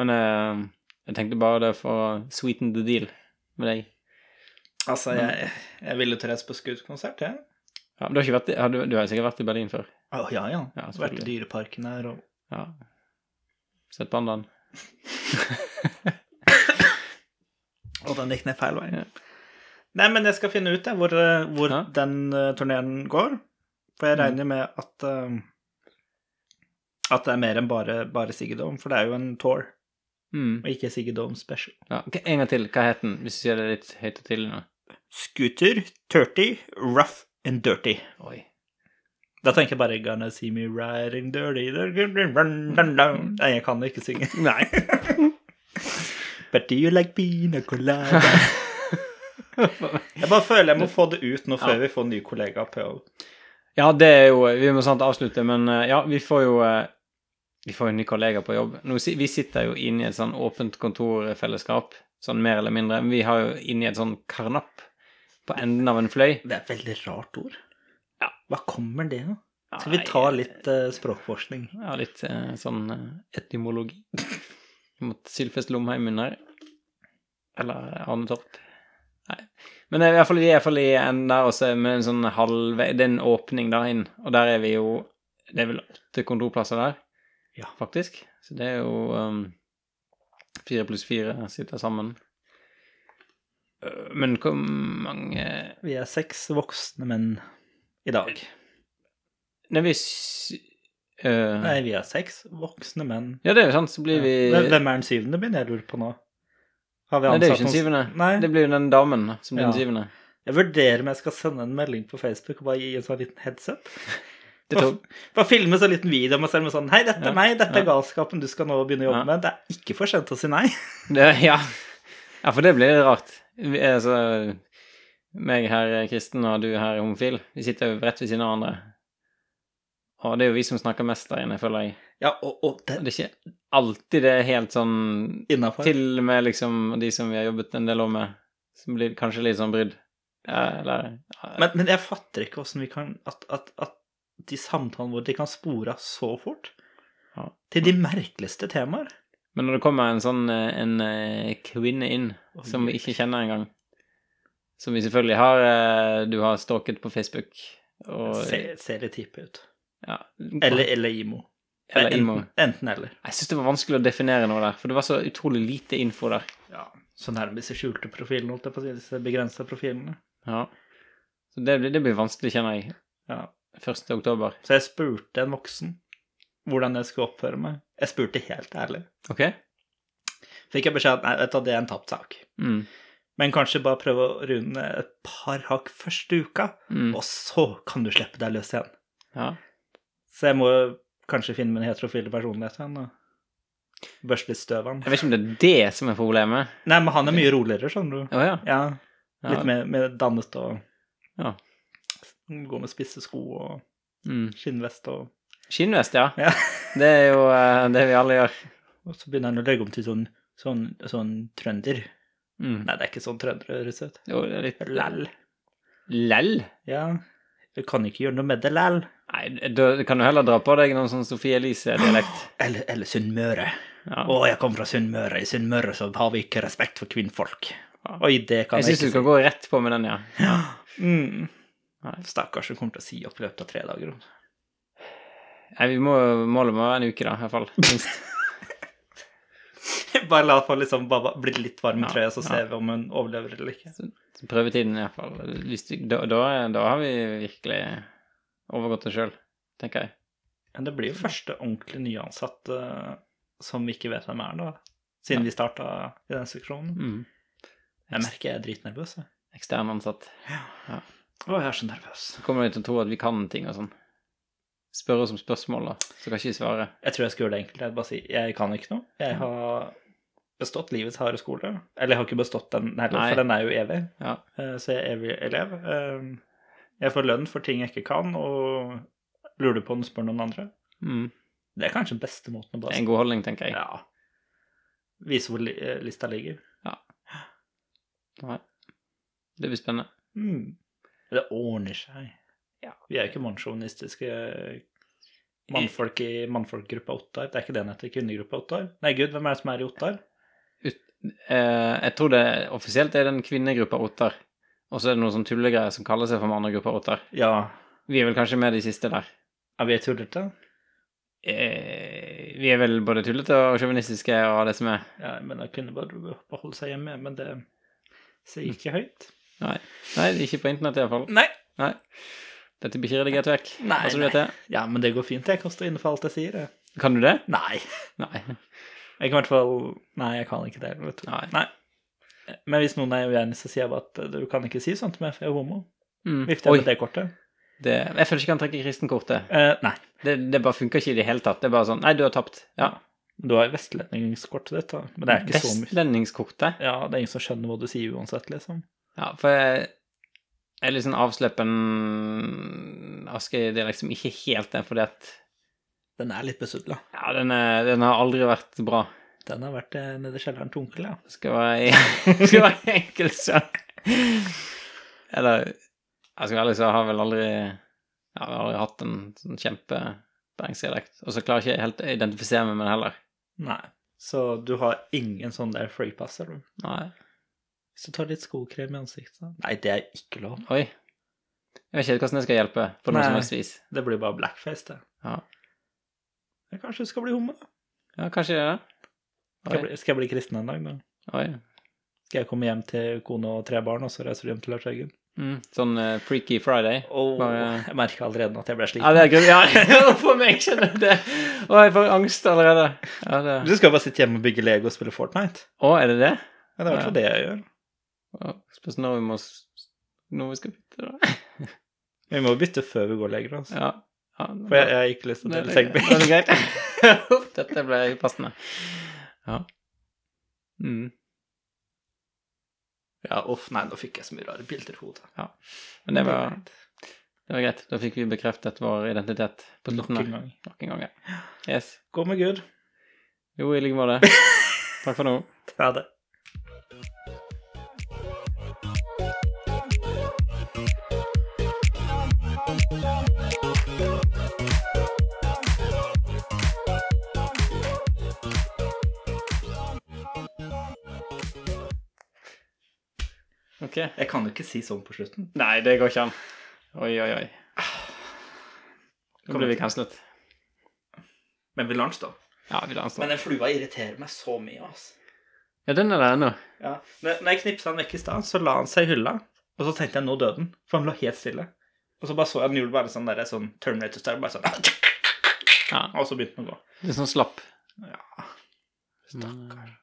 S2: Men eh, jeg tenkte bare det for å sweeten the deal med deg.
S1: Altså, jeg, jeg ville til reise på skuddkonsert, jeg.
S2: Ja, men du har, ikke vært i, har du, du har jo sikkert vært i Berlin før?
S1: Å, ja, ja.
S2: Ja,
S1: Vært i
S2: selvfølgelig.
S1: Dyreparken her og
S2: Ja. Sett pandaen.
S1: Og den gikk ned feil vei.
S2: Ja.
S1: Nei, men jeg skal finne ut jeg, hvor, eh, hvor
S2: Ja.
S1: den uh, turneen går. For jeg
S2: Mm.
S1: regner med at eh, At det er mer enn bare, bare Siggy Dome, for det er jo en tour,
S2: Mm.
S1: og ikke Siggy Dome special.
S2: Ja. ok, En gang til. Hva het den, hvis du sier det litt høyt og tidlig nå?
S1: Scooter, 30, rough and dirty.
S2: Oi.
S1: Da tenker jeg bare Gonna see me riding dirty dirty, dirty, run, run, run. Nei, jeg kan ikke synge.
S2: Nei.
S1: But do you like pina colada? Jeg bare føler jeg må få det ut nå før
S2: Ja.
S1: vi får nye kollegaer på jobb.
S2: Ja, det er jo Vi må sant avslutte, men eh, ja, vi får jo eh, Vi får jo nye kollegaer på jobb. Nå, si- vi sitter jo inne i et sånn åpent kontorfellesskap, sånn mer eller mindre. Men vi har jo inni et sånn karnapp på enden av en fløy.
S1: Det er et veldig rart ord.
S2: Ja.
S1: Hva kommer det av? Skal vi ta litt eh, språkforskning?
S2: Ja, litt eh, sånn eh, etymologi. Mot Sylfest Lomheim under. Eller eh, Arne Torp. Nei. Men eh, i hvert fall, vi er i hvert fall i en der også, med en sånn halvvei Det er en åpning der inn, og der er vi jo Det er vel åtte kontorplasser der,
S1: Ja.
S2: faktisk. Så det er jo um, fire pluss fire sitter sammen. Øh, Men hvor mange
S1: Vi er seks voksne menn i dag.
S2: Nei, vi s- øh,
S1: Nei, vi er seks voksne menn.
S2: Ja, det er jo sant, så blir vi
S1: Hvem hvem er den syvende min jeg lurer på nå? Har vi
S2: Nei, det er
S1: ansatt
S2: jo ikke den
S1: noen-
S2: syvende.
S1: Nei.
S2: Det blir jo den damen da, som blir
S1: Ja.
S2: den syvende.
S1: Jeg vurderer om jeg skal sende en melding på Facebook og bare gi en sånn liten heads up.
S2: Det tok,
S1: Bare filme en sånn liten video om meg selv med sånn Hei, dette
S2: Ja,
S1: er meg, dette er
S2: ja.
S1: galskapen du skal nå begynne å jobbe
S2: Ja.
S1: med. Det er ikke for sent å si nei.
S2: det, ja. ja, for det blir rart. Vi, altså, meg her er kristen, og du her er homofil. Vi sitter jo rett ved siden av hverandre. Og det er jo vi som snakker mest der inne, føler jeg.
S1: Ja, og, og det
S2: Og Det er ikke alltid det er helt sånn
S1: innafor.
S2: Til og med liksom de som vi har jobbet en del år med, som blir kanskje litt sånn brydd. Ja, eller
S1: Men, men jeg fatter ikke åssen vi kan at, at, at de samtalene våre de kan spore av så fort.
S2: Ja.
S1: Til de merkeligste temaer.
S2: Men når det kommer en sånn eh, en eh, kvinne inn som vi ikke kjenner engang, som vi selvfølgelig har eh, Du har stalket på Facebook og
S1: Ser, ser litt hippe ut.
S2: ja,
S1: Eller, eller IMO.
S2: eller
S1: Enten-
S2: Imo.
S1: Enten eller.
S2: Jeg syns det var vanskelig å definere noe der, for det var så utrolig lite info der.
S1: Ja, så nærmest de skjulte profilene, holdt jeg på å si. Disse begrensa profilene.
S2: Ja. Så det, blir- det blir vanskelig, kjenner jeg.
S1: Ja.
S2: 1. oktober.
S1: Så jeg spurte en voksen hvordan jeg skulle oppføre meg. Jeg spurte helt ærlig.
S2: Ok?
S1: Fikk jeg beskjed om at nei, vet du, hva, det er en tapt sak.
S2: Mm.
S1: Men kanskje bare prøve å runde et par hakk første uka,
S2: Mm.
S1: og så kan du slippe deg løs igjen.
S2: Ja.
S1: Så jeg må kanskje finne min heterofile personlighet igjen og børste litt støv av den.
S2: Jeg vet ikke om det er det som er problemet.
S1: Nei, men han er mye roligere, skjønner du.
S2: Å ja.
S1: Ja,
S2: ja.
S1: litt mer, mer dannet og
S2: Ja.
S1: Gå med spisse sko og
S2: Mm.
S1: skinnvest og
S2: Skinnvest, ja.
S1: Ja.
S2: Det er jo eh, det vi alle gjør.
S1: Og så begynner han å legge om til sånn, sånn, sånn trønder.
S2: Mm.
S1: Nei, det er ikke sånn trøndere høres ut.
S2: Jo, det er litt
S1: Læl.
S2: Lell?
S1: Ja. Du kan ikke gjøre noe med det, læl.
S2: Nei, da kan du heller dra på deg noen sånn Sofie Elise-dialekt.
S1: Eller, eller Sunnmøre.
S2: Ja.
S1: Å, jeg kommer fra Sunnmøre. I Sunnmøre så har vi ikke respekt for kvinnfolk. Oi, det kan
S2: Jeg
S1: jeg,
S2: syns du
S1: ikke
S2: kan gå rett på med den, ja.
S1: si. Mm.
S2: Nei.
S1: Stakkars, hun kommer til å si opp i løpet av tre dager. hun.
S2: Nei, vi må, målet må være en uke, da, i hvert fall. Minst.
S1: Bare la få liksom bare bli litt varm i
S2: Ja,
S1: trøya, så
S2: ja.
S1: ser vi om hun overlever eller ikke.
S2: Prøvetiden, i hvert fall. Hvis du, da, da, da har vi virkelig overgått det sjøl, tenker jeg.
S1: Men det blir jo første ordentlig nyansatte eh, som vi ikke vet hvem er, da. Siden vi starta i den seksjonen.
S2: Mm.
S1: Jeg merker jeg er dritnervøs. jeg.
S2: Ekstern ansatt.
S1: Å, jeg er så nervøs.
S2: Så kommer de til å tro at vi kan ting og sånn. Spørre oss om spørsmål, da. Så kan ikke vi svare.
S1: Jeg tror jeg skal gjøre det enkelt. Jeg bare si jeg kan ikke noe. Jeg har bestått livets harde skole. Eller jeg har ikke bestått den heller,
S2: Nei.
S1: for den er jo evig.
S2: Ja.
S1: Eh, Så jeg er evig elev. Eh, Jeg får lønn for ting jeg ikke kan, og lurer på om spør noen andre.
S2: Mm.
S1: Det er kanskje den beste måten å
S2: Det
S1: bare
S2: er en god holdning, tenker jeg.
S1: Ja. Vise hvor li- eh, lista ligger.
S2: Nei. Det blir spennende.
S1: Mm. Det ordner seg.
S2: Ja.
S1: Vi er jo ikke mannssjåvinistiske eh, mannfolk i mannfolkgruppa Ottar. Det er ikke det den heter, kvinnegruppa Ottar. Nei, gud, hvem er det som er i Ottar?
S2: Eh, jeg tror det offisielt er den kvinnegruppa Ottar. Og så er det noen sånn tullegreier som kaller seg for mannegruppa Ottar.
S1: Ja,
S2: Vi er vel kanskje med de siste der.
S1: er vi tullete?
S2: Eh, vi er vel både tullete og sjåvinistiske og det som er.
S1: Ja, men jeg kunne bare beholde seg hjemme, men det sier ikke høyt.
S2: Nei, Nei ikke på internett i hvert fall.
S1: Nei.
S2: Nei. Dette blir ikke redigert vekk.
S1: Nei,
S2: Altså, du
S1: nei.
S2: vet det.
S1: Ja, men det går fint. Jeg kan stå inne for alt jeg sier. Jeg.
S2: Kan du det?
S1: Nei.
S2: Nei.
S1: Jeg kan i hvert fall Nei, jeg kan ikke det. Vet du.
S2: Nei.
S1: Men hvis noen er uenig, så sier jeg bare at eh, du kan ikke si sånt til meg, for jeg er homo.
S2: Mm.
S1: Vifter
S2: Oi,
S1: jeg med det kortet?
S2: det, jeg føler ikke han trekker kristenkortet.
S1: Eh, nei.
S2: Det, det bare funker ikke i det hele tatt. Det er bare sånn Nei, du har tapt. Ja.
S1: Du har vestlendingskort ditt, da. Men det er ikke så mye.
S2: Vestlendingskortet.
S1: Ja, det er ingen som skjønner hva du sier uansett, liksom.
S2: Ja, for jeg jeg er litt sånn avsleppen Askøy-dialekt som ikke helt er fordi at
S1: Den er litt besudla.
S2: Ja, den, er, den har aldri vært bra.
S1: Den har vært eh, nede i kjelleren til onkel, ja.
S2: Det skal være, skal være enkelt sånn. Eller jeg skal være ærlig, så har jeg vel aldri Jeg har aldri hatt en sånn kjempe bergensdialekt. Og så klarer jeg ikke helt å identifisere meg med den heller.
S1: Nei. Så du har ingen sånn der freepasser, du.
S2: Nei.
S1: Hvis du tar litt skokrem i ansiktet da. Nei, det er ikke lov.
S2: Oi. Jeg vet ikke helt hvordan jeg skal hjelpe på noe
S1: Nei.
S2: som helst vis.
S1: Det blir bare blackface, det.
S2: Ja.
S1: Men Kanskje du skal bli homo, da.
S2: ja, kanskje det er det.
S1: Skal jeg
S2: Oi.
S1: bli, skal jeg bli kristen en dag, da?
S2: Oi.
S1: Skal jeg komme hjem til kone og tre barn, og så reiser du hjem til Lars Eggen?
S2: Mm. Sånn eh, Freaky Friday.
S1: Åh,
S2: Bare-
S1: Jeg merker allerede nå at jeg ble
S2: Ja,
S1: sliten.
S2: det er grunn... Ja, for meg skjønner du det. Å, jeg får angst allerede. Ja, det...
S1: Du skal bare sitte hjemme og bygge Lego og spille Fortnite.
S2: Å, er det det?
S1: Men det er i hvert fall det jeg gjør.
S2: Ja, Spørs når vi må s- Når vi skal bytte, da.
S1: Vi må bytte før vi går lenger, altså.
S2: Ja. ja
S1: For jeg, jeg har ikke lyst til å
S2: Nei,
S1: dele
S2: det er greit.
S1: sengebenk.
S2: Det er greit. Uff, Dette ble passende. Ja. Mm.
S1: Ja, uff, nei, nå fikk jeg så mye rare bilder i hodet.
S2: Men det var, det var greit. Da fikk vi bekreftet vår identitet. På
S1: Nok en
S2: slutten her.
S1: gang.
S2: Nok en gang, ja. Yes.
S1: Gå med Gud.
S2: Jo, i like måte. Takk for nå.
S1: Ha det.
S2: Ok.
S1: Jeg kan jo ikke si sånn på slutten.
S2: Nei, det går ikke an. Oi, oi, oi. Nå
S1: Kom
S2: blir vi
S1: igjen.
S2: kanslet.
S1: Men vi lar den stå.
S2: Ja, vi lar den stå.
S1: Men den flua irriterer meg så mye, altså.
S2: Ja, den er der ennå.
S1: Ja. Når når jeg knipsa den vekk i stad, så la han seg i hylla, og så tenkte jeg nå døde den, for han lå helt stille. Og så bare så jeg den gjorde bare sånn der, sånn Terminator-style, bare sånn
S2: Ja,
S1: Og så begynte den å gå.
S2: litt sånn slapp.
S1: Ja.
S2: Stakkar.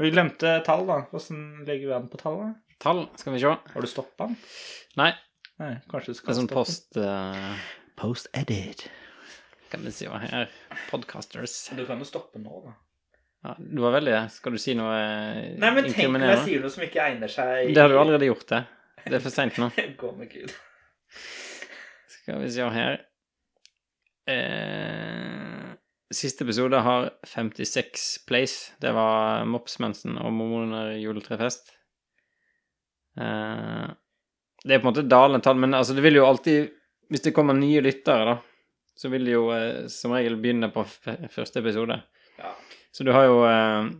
S1: Vi glemte tall, da. Åssen legger vi an på tallet?
S2: Tall, skal vi se.
S1: Har du stoppa den?
S2: Nei,
S1: Nei, kanskje du
S2: det
S1: skal
S2: er sånn
S1: stoppe den.
S2: post... eh,
S1: Post edit.
S2: kan vi se hva her. Podcasters.
S1: Du kan jo stoppe nå, da.
S2: Ja, du var veldig... Skal du si noe eh,
S1: Nei, men tenk når jeg
S2: inkriminerende?
S1: sier noe som ikke egner seg
S2: Det har du allerede gjort, det. Det er for sent nå.
S1: Gå med Gud.
S2: Skal vi se her eh, Siste episode har 56 plays. Det var Mopsmensen og Mormoner juletrefest. Eh, det er på en måte dalende tall, men altså, det vil jo alltid Hvis det kommer nye lyttere, da, så vil det jo eh, som regel begynne på f første episode.
S1: Ja.
S2: Så du har jo eh,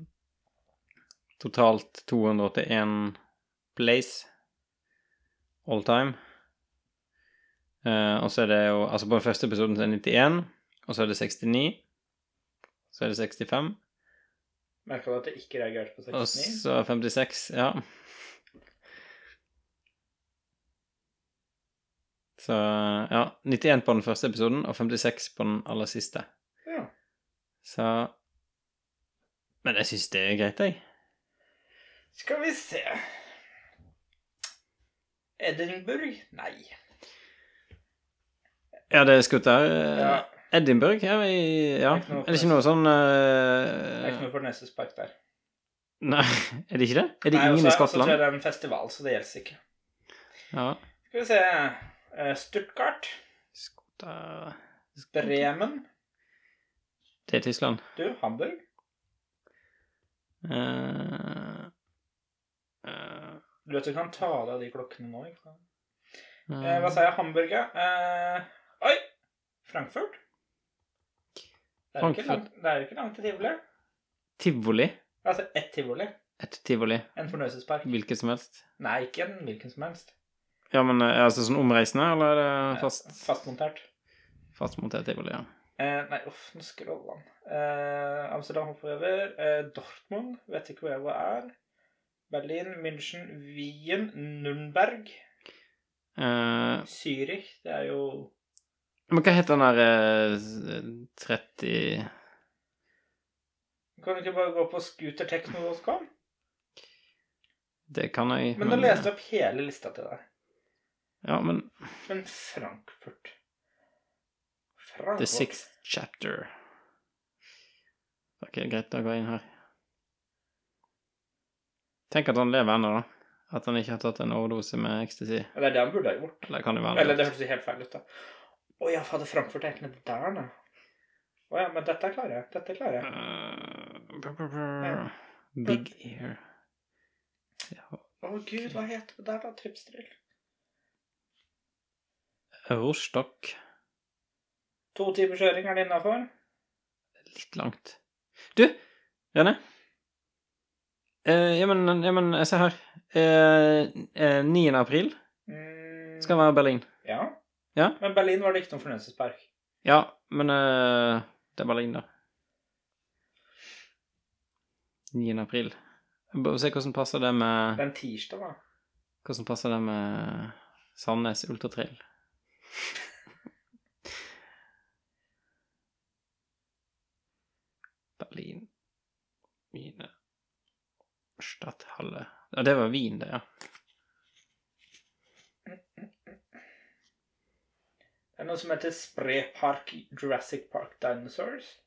S2: totalt 281 plays all time. Eh, og så er det jo Altså, på den første episoden så er det 91, og så er det 69. Så er det 65,
S1: Merka du at jeg ikke reagerte på
S2: og
S1: 69?
S2: så 56, ja. Så ja, 91 på den første episoden, og 56 på den aller siste.
S1: Ja.
S2: Så Men jeg syns det er greit, jeg.
S1: Skal vi se Edinburgh? Nei.
S2: Ja, det er skutt der. eh,
S1: Ja,
S2: Edinburgh, ja, vi, ja.
S1: Det er ikke noe
S2: Er det ikke noe sånn
S1: det er ikke
S2: eh,
S1: noe for Nessuspark der.
S2: Nei, er det ikke det? Er det
S1: Nei, og
S2: ingen
S1: så- Og
S2: i
S1: så tror
S2: Skottland?
S1: jeg det er en festival, så det gjelder ikke.
S2: Ja.
S1: Skal vi se eh, Stuttgart,
S2: Skotter
S1: Bremen,
S2: eh, Det er Tyskland.
S1: du, Hamburg.
S2: Eh, eh,
S1: Du vet du kan ta av deg de klokkene nå, ikke sant? Eh, hva
S2: eh,
S1: sa jeg? Hamburg, ja. Eh, oi! Frankfurt? Det er jo ikke
S2: Frankfurt.
S1: langt, det er jo ikke langt til tivoli.
S2: eh, Tivoli.
S1: Altså ett tivoli.
S2: Et tivoli.
S1: En fornøyelsespark.
S2: Hvilket som helst.
S1: Nei, ikke en hvilken som helst.
S2: Ja, men eh, altså sånn omreisende, eller
S1: Eh,
S2: er det fast,
S1: Fastmontert.
S2: fastmontert tivoli? Ja.
S1: Eh, nei, uff, nå scroller han. Eh, Amsterdam hopper over. Eh, Dortmund, vet ikke hvor jeg hvor er. Berlin, München, Wien, Nürnberg,
S2: Eh,
S1: Zürich Det er jo
S2: men hva heter den der eh, 30
S1: Kan du ikke bare gå på scootertechno.com?
S2: Det kan jeg.
S1: Men nå leste jeg opp hele lista til deg.
S2: Ja, men
S1: Men Frankfurt
S2: The
S1: Frankfurt.
S2: Sixth Chapter. Ok, greit, da går jeg inn her. Tenk at han lever ennå, da. At han ikke har tatt en overdose med ecstasy.
S1: Ja, Det er det han burde ha gjort.
S2: Eller kan det være
S1: Eller det
S2: det?
S1: hørtes jo helt feil ut, da. Å ja, fader, Frankfurt er ikke nede der, da. Å ja, men dette klarer jeg. Dette klarer jeg.
S2: Eh, brr, brr, brr. Big Ear. Ja,
S1: Å gud, hva heter det der, da? Tripsdrill?
S2: Rostock.
S1: To timer kjøring er det innafor.
S2: Litt langt. Du, Rene? Eh, ja, men, ja, men se her. Eh, eh, 9. april
S1: Mm,
S2: skal være Berlin.
S1: ja.
S2: Ja.
S1: Men Berlin var det ikke noen fornøyelsespark.
S2: Ja, men eh, det er Berlin, da. 9. april. Jeg må Se hvordan passer det med
S1: Den tirsdag, da.
S2: Hvordan passer det med Sandnes Ultratrail? Berlin Mine alle Ja, det var vin, det, ja.
S1: Det er noe som heter Sprepark Jurassic Park Dinosaurs.